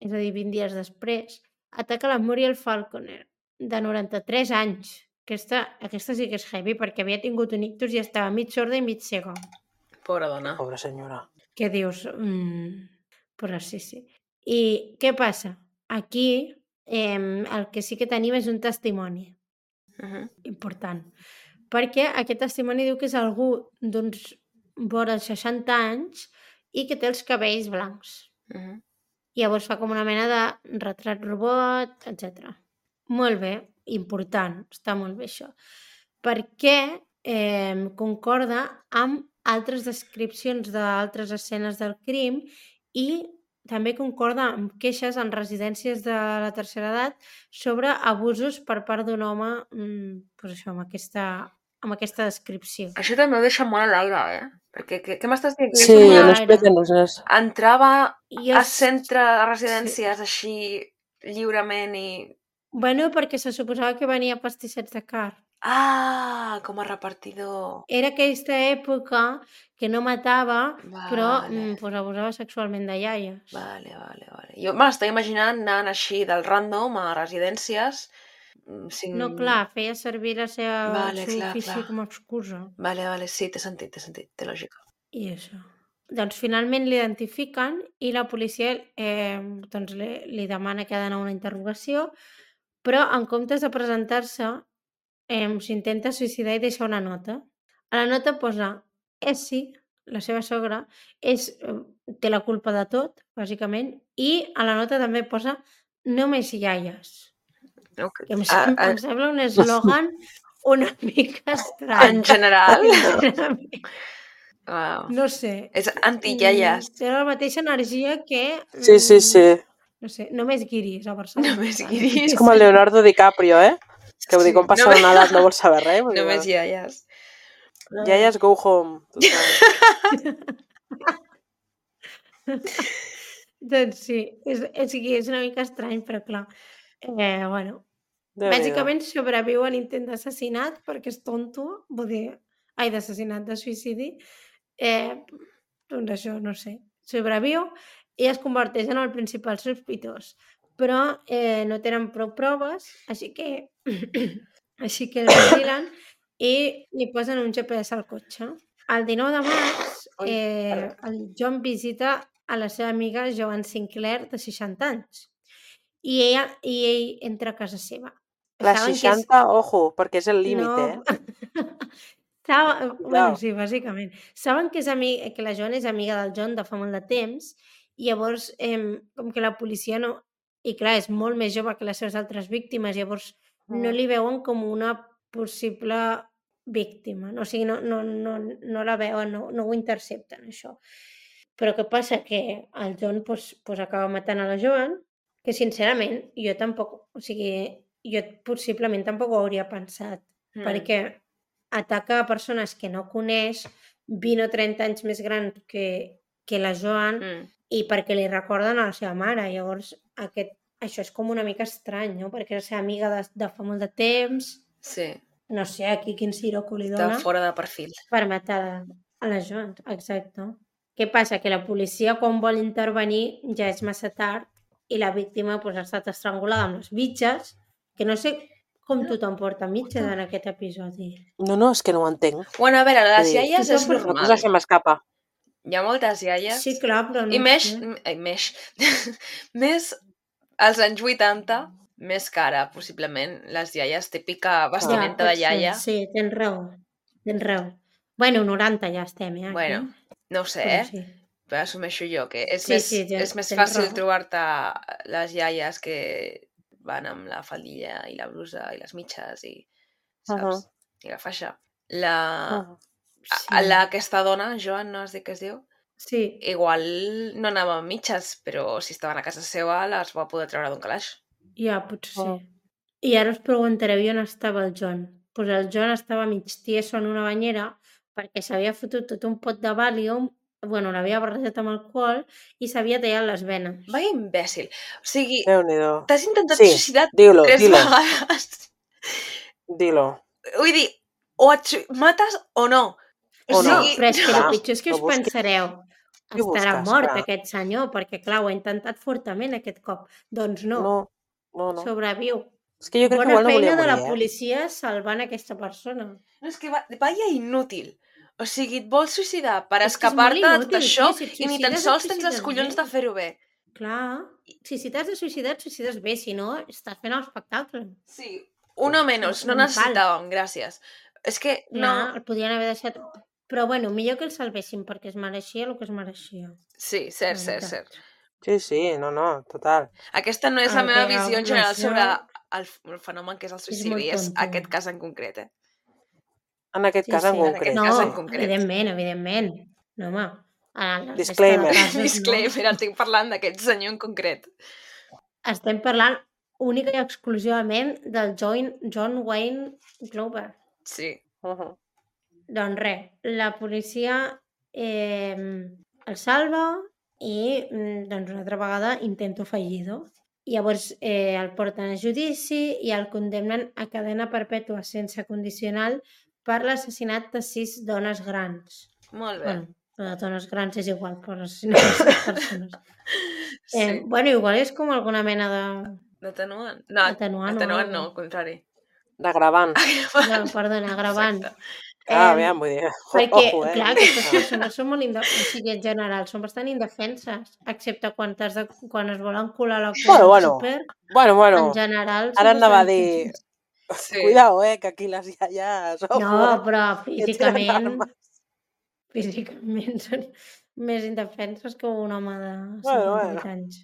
S2: és a dir, 20 dies després, ataca la Muriel Falconer, de 93 anys. Aquesta, aquesta sí que és heavy, perquè havia tingut un ictus i estava mig sorda i mig cega.
S1: Pobra dona.
S3: Pobra senyora.
S2: que dius, mm, però sí, sí. I què passa? Aquí eh, el que sí que tenim és un testimoni
S1: Mhm.
S2: important, perquè aquest testimoni diu que és algú d'uns vora 60 anys i que té els cabells blancs.
S1: Mhm.
S2: Llavors fa com una mena de retrat robot, etc. Molt bé, important, està molt bé això. Perquè eh, concorda amb altres descripcions d'altres escenes del crim i també concorda amb queixes en residències de la tercera edat sobre abusos per part d'un home mm, pues això, amb, aquesta, amb aquesta descripció.
S1: Això també ho deixa molt a l'aire, eh? Perquè què, què m'estàs dient?
S2: Sí,
S1: Que
S2: no
S1: ella
S2: expliquen-nos
S3: res.
S1: Entrava
S2: I
S1: a centre de residències així lliurement i...
S2: Bueno, perquè se suposava que venia pastissets de carn.
S1: Ah, com a repartidor.
S2: era aquesta època que no matava,
S1: Vale.
S2: però mm, pues, abusava sexualment de iaies.
S1: Vale, vale, vale. Jo me l'estava imaginant anant així del random a residències. mm, Sin...
S2: No, clar, feia servir la seva
S1: Vale,
S2: vale,
S1: clar,
S2: ofici
S1: clar.
S2: com a excusa.
S1: Vale, vale, sí, té sentit, té sentit, té lògica.
S2: I això. Doncs finalment l'identifiquen i la policia eh, doncs li, li demana que ha d'anar a una interrogació, però en comptes de presentar-se eh, s'intenta suïcidar i deixa una nota. A la nota posa Essi, la seva sogra, és, eh, té la culpa de tot, bàsicament, i a la nota també posa només iaies.
S1: No? Que-
S2: Em,
S1: A,
S2: sem
S1: a,
S2: em sembla un eslògan una mica
S1: en
S2: estrany.
S1: general,
S2: <laughs>
S1: wow.
S2: No sé.
S1: és
S2: <laughs>
S1: anti-iaies.
S2: Mm, Té la mateixa energia que...
S3: Sí, sí,
S2: mm,
S3: sí.
S2: No sé, només guiris a Barcelona.
S1: Només
S2: saps?
S1: guiris.
S3: És com el Leonardo DiCaprio, eh? Que ho dic, quan passa
S1: només- <laughs>
S3: una edat no vols saber res.
S2: <laughs>
S3: vull dir,
S1: Només iaies.
S3: bueno, Iaies, go home.
S2: <laughs>
S3: total.
S2: Doncs sí, és, és, que és una mica estrany, però clar. Eh, bueno,
S3: Déu-n'hi-do.
S2: bàsicament sobreviu a l'intent d'assassinat perquè és tonto, vull dir, ai, d'assassinat, de suïcidi. Eh, doncs això, no sé, sobreviu i es converteix en el principal sospitós. Però eh, no tenen prou proves, així que així que el
S3: <coughs>
S2: vigilen i li posen un GPS al cotxe. El 19 de març,
S1: Ui,
S2: eh,
S1: perdó.
S2: el John visita a la seva amiga Joan Sinclair, de 60 anys, i, ella, i ell entra a casa seva.
S3: La
S2: Saben que és-
S3: 60, ojo, perquè és el límit, eh?
S2: <laughs> Saben, eh, bueno,
S3: Cuidao.
S2: sí, bàsicament. Saben que, és ami... que la Joan és amiga del John de fa molt de temps i llavors, eh, com que la policia no... I clar, és molt més jove que les seves altres víctimes, llavors no li veuen com una possible víctima. No? O sigui, no, no, no, no la veuen, no, no ho intercepten, això. Però què passa? Que el John pues, pues acaba matant a la Joan, que sincerament jo tampoc... O sigui, jo possiblement tampoc ho hauria pensat
S1: Mm.
S2: perquè ataca a persones que no coneix, 20 o 30 anys més gran que, que la Joan, mm.
S1: Mm.
S2: i perquè li recorden a la seva mare. Llavors, aquest, això és com una mica estrany, no? Perquè és la seva amiga de, de fa molt de temps,
S1: Sí,
S2: no sé aquí quin siroco li
S1: està
S2: dona
S1: fora de perfil.
S2: per matar a la Joan, exacte. Què passa? Que la policia, quan vol intervenir, ja és massa tard i la víctima pues, ha estat estrangulada amb les mitges, que no sé com tothom porta mitges en aquest episodi.
S3: No, no, és que no ho entenc.
S1: Bueno, a veure, les
S3: Sí.
S1: iaies és
S2: Tothom-
S3: Una
S1: normal.
S3: cosa se m'escapa.
S1: Hi ha moltes iaies.
S2: Sí, clar, però no
S1: I més,
S2: sé.
S1: m- ai, més, <laughs> més als anys 80, més cara, possiblement, les iaies, típica vestimenta de
S2: Clar, pot ser,
S1: iaia.
S2: Sí, tens raó, tens raó. Bueno, 90 ja estem, eh?
S1: Bueno, no ho sé,
S2: Però
S1: eh?
S2: sí.
S1: Però assumeixo jo que és
S2: Sí,
S1: més,
S2: sí, tens-
S1: és més
S2: tens
S1: fàcil
S2: raó.
S1: trobar-te les iaies que van amb la faldilla i la blusa i les mitges i, saps?
S3: Ahà.
S1: I la faixa. La,
S3: Ah.
S1: a- la, aquesta dona, Joan, no has dit que es diu?
S2: Sí,
S1: Igual no anava amb mitges, però si estaven a casa seva les va poder treure d'un calaix.
S2: ja, potser sí.
S3: Oh.
S2: I ara us preguntareu i on estava el John. Doncs pues el John estava mig tieso en una banyera perquè s'havia fotut tot un pot de Valium, bueno, l'havia barrejat amb alcohol i s'havia tallat les venes.
S1: Vaya imbècil. O sigui,
S3: Déu-n'hi-do.
S2: <laughs>
S1: t'has intentat
S3: Eh, Sí.
S1: sí. suïcidar
S3: Dilo,
S1: tres
S3: dilo,
S1: vegades. <laughs>
S3: dilo.
S1: Vull dir, o et sui- mates o no.
S3: O no.
S1: sigui,
S2: Però és que el
S3: Clar,
S2: pitjor és que
S3: no
S2: us
S3: busquis.
S2: pensareu
S3: Què Ah.
S2: estarà
S3: busques?
S2: mort
S3: Clar.
S2: aquest senyor, perquè clar, ho ha intentat fortament aquest cop. Doncs no,
S3: No, no, no.
S2: sobreviu.
S3: És que jo crec que
S2: Bona
S3: igual no volia
S2: feina de la
S3: morir, eh?
S2: policia salvant aquesta persona.
S1: No, és que va, vaya inútil. O sigui, et vols suïcidar per
S2: És que és molt
S1: escapar-te de tot
S2: inútil,
S1: això
S2: sí, si
S1: i
S2: et
S1: ni tan
S2: suïcides, et
S1: sols tens els
S2: suïcides
S1: collons
S2: bé.
S1: de fer-ho bé.
S2: Clar, si, si t'has de suïcidar, et suïcides bé, si no, estàs fent l'espectacle.
S1: Sí, uno menos, no
S2: un pal.
S1: necessitàvem, gràcies. És que
S2: No,
S1: no...
S2: el podien haver deixat... Però bueno, millor que el salvessin perquè es mereixia el que es mereixia.
S1: Sí, cert,
S2: Una
S1: cert,
S2: mica.
S1: cert.
S3: Sí, sí, no, no, total.
S1: Aquesta no és la
S2: El
S1: meva
S2: que
S1: visió en
S2: la
S1: general
S2: seva-
S1: sobre el, f- el fenomen que és el suïcidi,
S2: molt
S1: és,
S2: tonto.
S1: aquest cas en concret, eh?
S3: En aquest
S2: Sí,
S3: cas en
S2: sí. En
S1: aquest
S3: concret.
S2: No,
S1: cas en concret.
S2: evidentment, evidentment. No, home. A la- la resta de
S3: Disclaimer.
S1: <laughs>
S2: casos, no.
S1: Disclaimer, estic parlant d'aquest senyor en concret.
S2: Estem parlant única i exclusivament del John, John Wayne Glover.
S1: Sí.
S3: Mhm.
S2: Doncs res, la policia eh, el salva i mm, doncs una altra vegada intento fallido. Llavors eh, el porten a judici i el condemnen a cadena perpètua sense condicional per l'assassinat de sis dones grans.
S1: Molt bé.
S2: Bueno, lo de dones grans és igual, però l'assassinat de sis persones.
S1: <laughs> sí.
S2: Eh, bueno, igual és com alguna mena de...
S1: D'atenuant? No,
S2: atenuant o
S1: Ah, atenuant
S2: algo.
S1: no, al contrari.
S3: D'agravant.
S1: <laughs>
S2: No, perdona, gravant. Eh,
S1: Exacte.
S3: Ah,
S2: Em,
S3: aviam, vull dir... jo-
S2: Perquè,
S3: ojo, eh?
S2: clar, aquestes
S3: Ah.
S2: persones són molt indefenses, o sigui, en general, són bastant indefenses, excepte quan, t'has de, quan es volen colar la cua
S3: Bueno,
S2: al
S3: bueno,
S2: súper,
S3: <laughs> Bueno, bueno,
S2: en general... són
S3: ara anava a
S2: bastant
S3: dir...
S2: indefenses.
S1: Sí.
S3: Cuidao, eh, que aquí les iaies... Ojo,
S2: No,
S3: eh,
S2: però
S3: que tenen
S2: físicament,
S3: armes.
S2: físicament <laughs> són més indefenses que un home de 50
S3: Bueno, bueno.
S2: anys.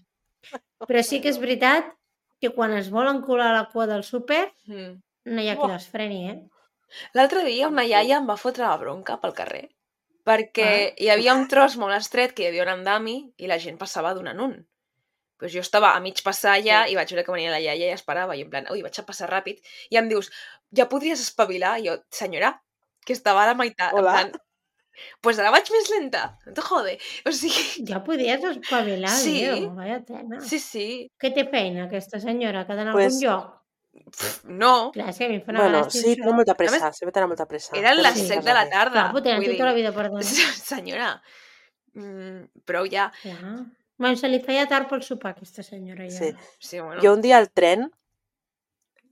S2: Però sí que és veritat que quan es volen colar a la cua del súper,
S1: Mm.
S2: no hi ha qui
S3: Buah.
S2: les freni, eh?
S1: L'altre dia una iaia em va fotre la bronca pel carrer perquè hi havia un tros molt estret que hi havia un andami i la gent passava d'un en un. Doncs jo estava a mig passar allà i vaig veure que venia la iaia i esperava. I en plan, ui, vaig a passar ràpid. I em dius, ja podries espavilar? I jo, senyora, que estava a la meitat.
S3: Hola.
S1: En plan, pues ara vaig més lenta. No te jode. O sigui,
S2: Ja podies espavilar,
S1: Sí.
S2: sí. Déu, vaya tema.
S1: sí,
S2: Sí.
S1: sí.
S2: Què té feina aquesta senyora? Que ha d'anar a
S3: Pues-
S2: algun lloc?
S1: Pff, No.
S2: Clar, és que a mi em fa una
S3: Bueno,
S2: gràcia
S3: sí,
S2: això.
S3: tenen molta
S1: A
S3: pressa, sempre tenen molta pressa.
S1: Eren
S3: Tenen
S1: les
S2: Sí.
S3: molta
S1: 7 de la
S3: pressa.
S1: tarda.
S2: Clar, pot tenir
S1: vull
S2: tota la
S1: <laughs> dir,
S2: vida perduda.
S1: Senyora, mm, prou ja.
S2: Clar. Bueno, se li feia tard pel sopar, aquesta senyora. Ja.
S3: Sí.
S1: Sí, bueno.
S3: Jo un dia al tren,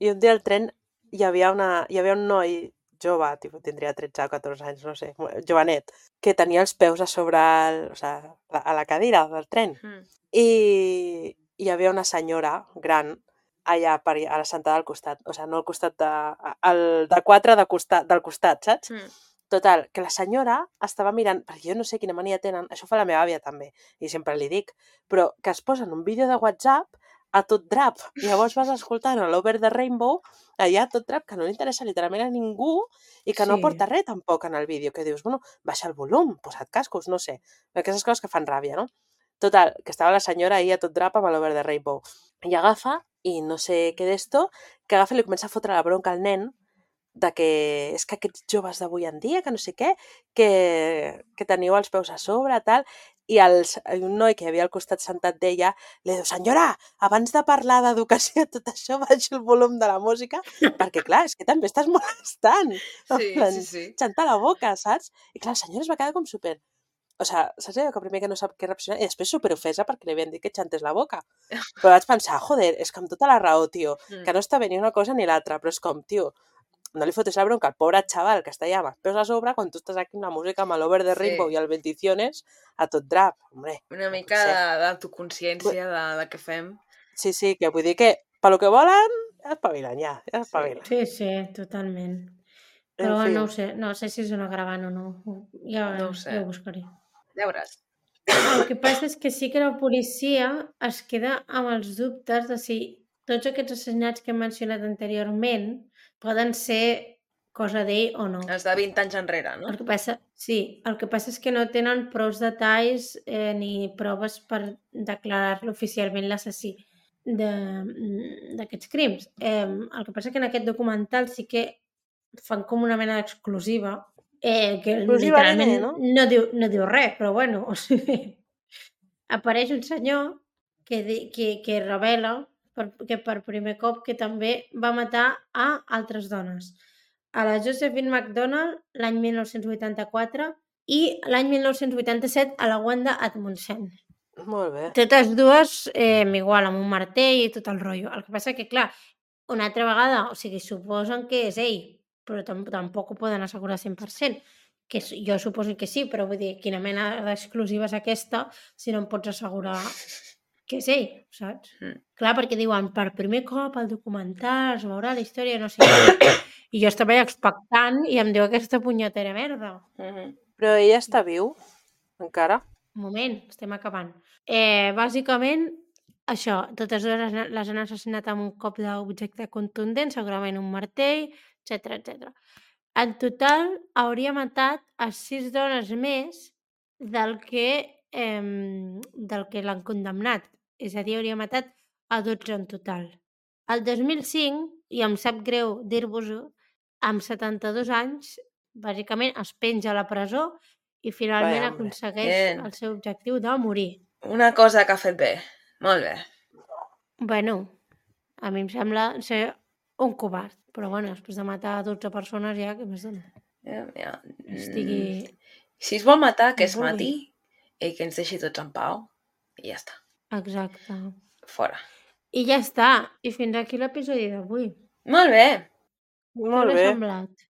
S3: jo un dia al tren hi havia, una, hi havia un noi jove, tipus, tindria 13 o 14 anys, no sé, mo- jovenet, que tenia els peus a sobre, el, o sea, la- a la cadira del tren.
S1: Mm.
S3: I hi havia una senyora gran allà per, a la sentada al costat, o sigui, no al costat de... a- Al, de quatre de costat, del costat, saps?
S1: <laughs> Mm.
S3: Total, que la senyora estava mirant, perquè jo no sé quina mania tenen, això fa la meva àvia també, i sempre li dic, però que es posen un vídeo de WhatsApp a tot drap. Llavors vas escoltant a l'Over the Rainbow, allà a tot drap, que no li interessa literalment a ningú i que sí. no
S2: Sí.
S3: aporta res tampoc en el vídeo, que dius, bueno, baixa el volum, posa't cascos, no sé. Aquestes coses que fan ràbia, no? Total, que estava la senyora ahir a tot drap amb l'Over the Rainbow. I agafa, i no sé què d'esto, que agafa i li comença a fotre la bronca al nen de que és que aquests joves d'avui en dia, que no sé què, que, que teniu els peus a sobre, tal, i els, un noi que hi havia al costat sentat d'ella li diu, senyora, abans de parlar d'educació i tot això, <laughs> baixa el volum de la música, perquè clar, és que també estàs molestant,
S1: Sí,
S3: plan,
S1: sí, <laughs> sí.
S3: xanta la boca, saps? I clar, la senyora es va quedar com super... O sigui, saps allò que primer que no sap què reaccionar i després superofesa perquè li havien dit que xantés la boca. Però vaig pensar, joder, és que amb tota la raó, tio,
S1: Mm.
S3: que no està bé ni una cosa ni l'altra, però és com, tio, no li fotis la bronca al pobre xaval que està allà amb els peus a sobre quan tu estàs aquí amb la música amb l'Over de
S1: Sí.
S3: Rainbow i el Bendiciones a tot drap, hombre.
S1: Una
S3: no pot
S1: mica
S3: ser.
S1: de- d'autoconsciència de, de què fem.
S3: Sí, sí, que vull dir que pel que volen, ja espavilen, ja, ja espavilen.
S2: sí, sí, totalment.
S3: En
S2: Però
S3: fi.
S2: bueno, no, ho sé, no sé si és una gravant o no. Ho- Ja,
S1: No ho sé.
S2: ja ho buscaré.
S1: Ja veuràs.
S2: El que passa és que sí que la policia es queda amb els dubtes de si tots aquests assassinats que hem mencionat anteriorment poden ser cosa d'ell o no.
S1: Els de 20 anys enrere, no?
S2: El que passa, sí, el que passa és que no tenen prous detalls eh, ni proves per declarar-lo oficialment l'assassí de- d'aquests crims. Eh, el que passa que en aquest documental sí que fan com una mena d'exclusiva eh, que
S3: Exclusiva,
S2: literalment
S3: nene, no?
S2: no, diu, no diu res, però bueno, o sigui, apareix un senyor que, di- que, que revela per, que per primer cop que també va matar a altres dones. A la Josephine MacDonald l'any 1984 i l'any 1987 a la Wanda Atmonsen.
S3: Molt bé.
S2: Totes dues eh, igual, amb un martell i tot el rotllo. El que passa que, clar, una altra vegada, o sigui, suposen que és ell, però tam tampoc ho poden assegurar 100%, que s- jo suposo que sí, però vull dir, quina mena d'exclusiva és aquesta si no em pots assegurar que és ell, saps?
S1: Mm.
S2: Clar, perquè diuen, per primer cop al documental es veurà la història, no sé què. I jo estava expectant i em diu aquesta punyetera merda.
S1: Mm -hmm.
S3: Però ella està viu, encara?
S2: Un moment, estem acabant. Eh, bàsicament, això, totes dues les han- les han assassinat amb un cop d'objecte contundent, segurament un martell, etc etc. En total, hauria matat a sis dones més del que, eh, del que l'han condemnat. És a dir, hauria matat a 12 en total. El 2005, i em sap greu dir-vos-ho, amb 72 anys, bàsicament es penja a la presó i finalment
S3: Vaya, hombre.
S2: aconsegueix
S1: Bien.
S2: el seu objectiu de morir.
S1: Una cosa que ha fet bé. Molt bé.
S2: Bueno, a mi em sembla ser un covard, però bueno, després de matar 12 persones ja, què més dona?
S1: Ja, ja.
S2: Que
S1: Mm.
S2: Estigui...
S1: Si es vol matar, que es
S2: Molt bé.
S1: mati i que ens deixi tots en pau. I ja està.
S2: Exacte.
S1: Fora.
S2: I ja està. I fins aquí l'episodi d'avui.
S1: Molt bé.
S3: Molt
S2: Què us
S3: bé.
S2: ha semblat?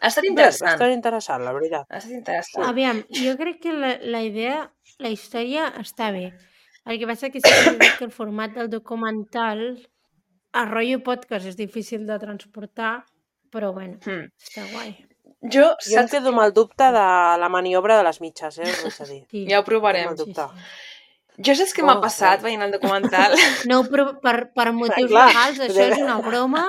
S1: Ha estat
S3: Bé,
S1: interessant.
S3: bastant interessant, la veritat.
S1: Ha estat interessant.
S2: Aviam, jo crec que la, la idea, la història està bé. El que passa que sí que, és veritat que el format del documental a rotllo podcast és difícil de transportar, però bueno,
S1: Mm.
S2: està guai.
S1: Jo,
S3: Jo em
S1: saps...
S3: quedo amb el dubte de la maniobra de les mitges, eh? us ho Vaig a dir.
S2: Sí.
S1: Ja ho
S3: Tinc
S1: provarem.
S3: el dubte.
S1: Jo saps què
S3: Oh,
S1: m'ha passat veient
S2: <laughs>
S1: el documental?
S2: No, però per, per motius
S3: clar,
S2: legals, això
S3: de-
S2: és una broma.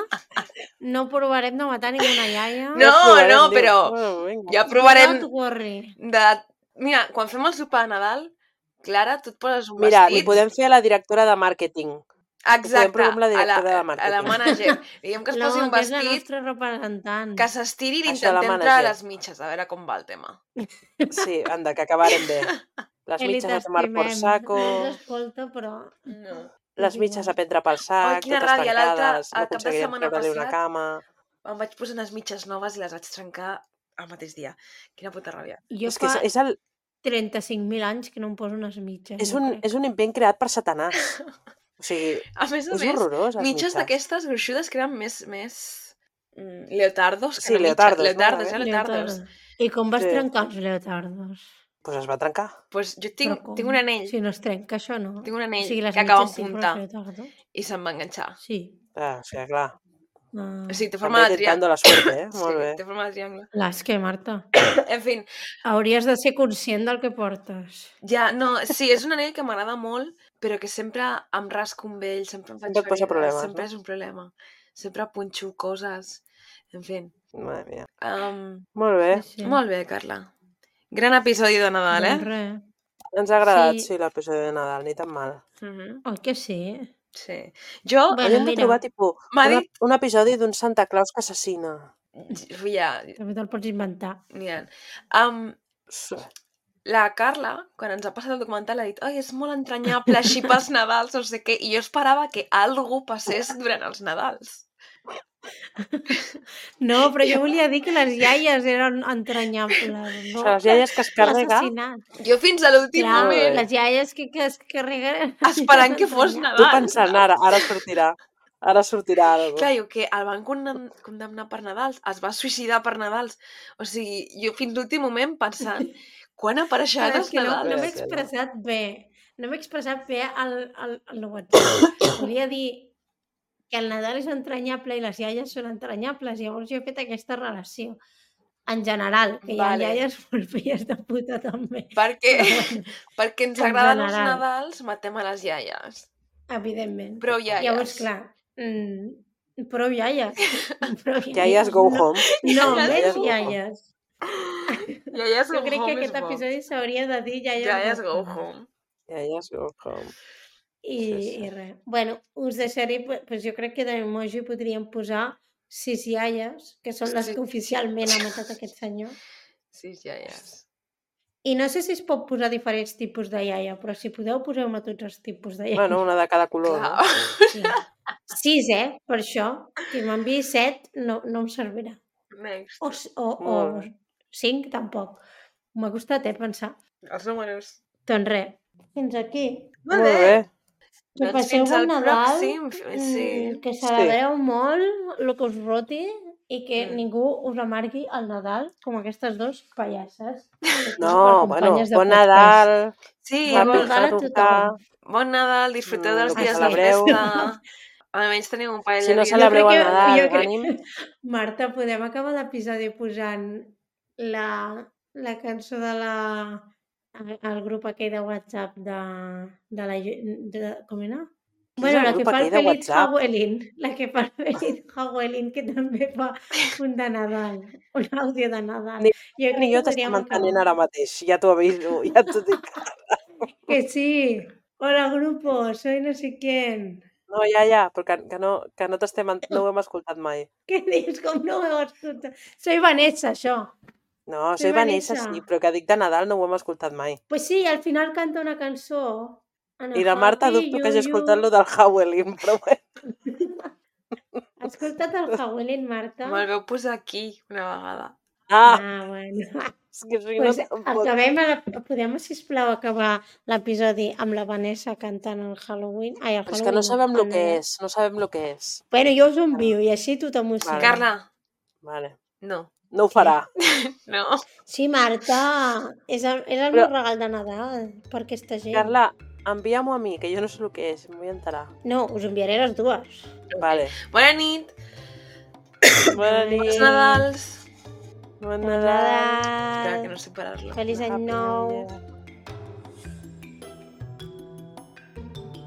S2: No provarem de matar ninguna iaia.
S1: No, no, però-
S3: Bueno, vinga.
S1: ja provarem
S2: Don't worry.
S1: de... Mira, quan fem el sopar de Nadal, Clara, tu et poses un
S3: Mira, li
S1: vestit...
S3: podem fer a la directora de màrqueting. podem
S1: Exacte,
S3: provar amb la
S1: a la,
S3: directora de
S1: a la
S3: màrqueting.
S1: manager. Diguem que es
S2: No,
S1: posi un
S2: que és la
S1: vestit,
S2: nostra representant.
S1: que s'estiri i
S3: Això, la
S1: l'intentem
S3: manager.
S1: treure les mitges, a veure com va el tema.
S3: Sí, anda, que acabarem bé. Les
S2: Eli,
S3: mitges a tomar por
S2: t'estimem. <laughs>
S3: saco,
S2: No ens escolta, però...
S1: No.
S3: les
S2: és
S3: mitges a
S2: igual.
S3: prendre pel sac,
S1: quina
S3: totes
S1: ràbia, l'altre-
S3: tancades,
S1: el
S3: no
S1: cap de
S3: aconseguirem
S1: setmana
S3: treure-li una
S1: passat-
S3: cama...
S1: Em vaig posar unes mitges noves i les vaig trencar el mateix dia. Quina puta ràbia.
S2: Jo
S3: és que
S2: fa
S3: és, és, el,
S2: 35.000 anys que no em poso unes mitges.
S3: és,
S2: jo
S3: un,
S2: crec.
S3: és un invent creat per Satanàs. O sigui,
S1: A més a
S3: és
S1: més,
S3: horrorós. les
S1: mitges d'aquestes gruixudes que eren més... més... mm, Leotardos, que
S3: Sí,
S1: no mitges,
S3: leotardos, no?
S1: leotardos, eh,
S3: Era
S1: leotardos.
S2: I com vas
S3: Sí.
S2: trencar els leotardos?
S3: Pues es va trencar.
S1: pues jo
S2: Però
S1: tinc,
S2: com?
S1: tinc un anell,
S2: Si no es trenca, això no.
S1: tinc un anell
S2: o sigui, les
S1: que acaba en
S2: mitges sí, però
S1: punta
S2: els leotardos-
S1: i se'm va enganxar.
S2: Sí.
S3: Ah, o sigui, clar.
S2: Ah.
S1: O sigui, té forma
S3: També
S1: de triangle.
S3: intentando la suerte, eh? Molt bé.
S1: Sí, té forma de triangle.
S2: Las que, Ah,
S1: <coughs>
S2: Marta,
S1: En fi,
S2: hauries de ser conscient del que portes.
S1: ja, no, sí, és un anell que m'agrada molt, però que sempre em rasco amb ell, sempre em faig
S3: Sempre et
S1: ferides,
S3: posa problemes,
S1: sempre
S3: no?
S1: és un problema. Sempre punxo coses, en fi.
S3: Madre mia.
S1: Um,
S3: Molt bé.
S2: Sí, sí.
S1: Molt bé, Carla. Gran episodi de Nadal, eh?
S2: Doncs res.
S3: Ens ha agradat,
S2: Sí.
S3: sí, l'episodi de Nadal, ni tan mal.
S1: Mhm,
S2: Oi que sí?
S1: Sí. Jo,
S2: Bueno,
S3: Hauríem de
S2: mira.
S3: trobar, tipus,
S1: M'ha
S3: una,
S1: dit-
S3: un episodi d'un Santa Claus que assassina.
S1: ja,
S2: També te'l pots inventar.
S1: n'hi ha. Um,
S3: Sí.
S1: la Carla, quan ens ha passat el documental, ha dit «Ai, és molt entranyable, així pels Nadals, no sé què». I jo esperava que algú passés durant els Nadals.
S2: No, però jo volia dir que les iaies eren entranyables.
S3: O
S2: No?
S3: sigui, les iaies que es carrega...
S2: L'assassinat.
S1: Jo fins a l'últim
S2: Clar, <laughs>
S3: Molt bé.
S1: moment
S2: les iaies que, que es carreguen...
S1: esperant que fos
S3: Tu
S1: Nadal.
S3: pensant, ara, ara sortirà. Ara sortirà alguna
S1: Clar, jo que el van condemn- condemnar per Nadals, es va suïcidar per Nadals. O sigui, jo fins l'últim moment pensant quan apareixeran
S2: Però és
S1: els
S2: que no,
S1: Nadals?
S2: no m'he
S3: Sí, sí, no.
S2: expressat bé. No m'he expressat bé al, al, al
S1: <coughs>
S2: WhatsApp. Volia dir que el Nadal és entranyable i les iaies són entranyables. Llavors jo he fet aquesta relació. En general, que hi ha
S1: Vale.
S2: iaies <laughs> molt filles de puta també.
S1: Perquè,
S2: Però bueno,
S1: perquè ens
S2: <laughs> en
S1: agraden els
S2: general.
S1: Nadals, matem a les iaies.
S2: evidentment.
S1: Però iaies.
S2: Llavors, clar, mm,
S1: <laughs>
S2: prou <laughs> iaies.
S3: <laughs>
S2: Prou iaies.
S3: Iaies go
S2: no,
S3: home.
S2: No,
S1: Iaies
S2: més
S3: go home.
S2: iaies.
S1: Iaies
S2: Jo crec que
S1: és
S2: aquest
S1: bo.
S2: episodi s'hauria de dir iaies,
S1: Iaies go home.
S3: Iaies go home.
S2: I,
S3: Sí,
S2: sí,
S3: sí.
S2: i res. Bueno, us deixaré, pu- pues jo crec que d'emoji podríem posar sis iaies, que són les
S1: Sí.
S2: que oficialment ha matat aquest senyor.
S1: Sí, iaies.
S2: I no sé si es pot posar diferents tipus de iaia, però si podeu, poseu-me tots els tipus de iaia.
S3: Bueno, una de cada color,
S1: Clar.
S3: no?
S2: Sí. Sis, eh? Per això, que m'enviï set no, no em servirà.
S1: Next.
S2: O, s- o, o
S3: Molt bé.
S2: cinc, tampoc. M'ha costat, eh, pensar.
S1: Els números.
S2: Doncs res, fins aquí.
S3: Molt bé.
S2: Que
S1: Doncs
S2: passeu
S1: fins
S2: bon
S1: al
S2: Nadal.
S1: pròxim. eh, Sí.
S2: Mm, que celebreu molt el que us roti i que
S1: Mm.
S2: ningú us amargui el Nadal com aquestes dues pallasses.
S3: No, bueno,
S2: companyes de
S3: bon
S2: podcast.
S3: Nadal,
S1: Sí,
S2: Bon
S3: Happy
S1: bon,
S2: Nadal a
S3: Hanukkah.
S2: tothom.
S1: bon Nadal, disfruteu
S3: Mm,
S1: dels
S3: el
S2: que
S1: dies de
S2: celebreu.
S1: festa. Almenys teniu un parell
S3: Si no
S1: de dies.
S3: celebreu
S2: Jo
S3: el
S2: crec que-
S3: Nadal,
S2: jo crec-
S3: ànim.
S2: Marta, podem acabar l'episodi posant la, la cançó de la el grup aquell de WhatsApp de, de la... Ju- De, com era?
S3: és
S2: Bueno,
S3: el
S2: la que
S3: grup
S2: fa el
S3: aquell de
S2: Félix
S3: WhatsApp?
S2: Hauelin, la que fa el Félix Hauelin, que també fa un de Nadal, un àudio de Nadal.
S3: Ni-
S2: jo
S3: Ni jo t'estic
S2: podríem
S3: mantenint
S2: acabar.
S3: ara mateix, ja t'ho aviso, <laughs> ja t'ho dic.
S2: Que sí, hola grupo, soy no sé quién.
S3: No, ja, ja, però que, que no, que no t'estem, en- no ho hem escoltat mai.
S2: Què dius? Com no ho has escoltat? Soy Vanessa, això.
S3: No,
S2: Soy
S3: soy Vanessa,
S2: Vanessa.
S3: sí, però que dic de Nadal no ho hem escoltat mai.
S2: Pues sí, al final canta una cançó. Ana
S3: I la Marta
S2: Happy
S3: dubto que hagi
S2: You,
S3: escoltat lo del Howling, <laughs> però bé.
S2: You. Has escoltat el Howlin', Marta?
S1: Me'l veu posar aquí una vegada.
S3: Ah,
S2: Ah, bueno.
S3: és que
S2: <laughs>
S3: si no
S2: Pues
S3: tampoc...
S2: acabem, a la... podem, sisplau, acabar l'episodi amb la Vanessa cantant el Halloween? Ai, el
S3: Però és
S2: Halloween.
S3: que no sabem el
S2: el
S3: que
S2: Nadal.
S3: és, no sabem el que és.
S2: Bueno, jo us ho envio i així tothom ho sap.
S3: Vale.
S1: Carla,
S3: Vale.
S1: no.
S3: No ho farà.
S1: No.
S2: Sí, Marta, és el, és el
S3: Però-
S2: meu regal de Nadal per aquesta gent.
S3: Carla, envia-m'ho a mi, que jo no sé el que és, m'ho vull enterar.
S2: No, us enviaré les dues.
S3: Vale.
S1: Bona nit.
S3: Bona
S1: Bons
S3: nit.
S1: Nadals.
S3: Bon
S2: Bon
S3: Nadal.
S1: Espera
S2: Nadal.
S1: que no sé parar-lo.
S2: Feliç any
S3: Happy
S2: nou.
S3: New Year.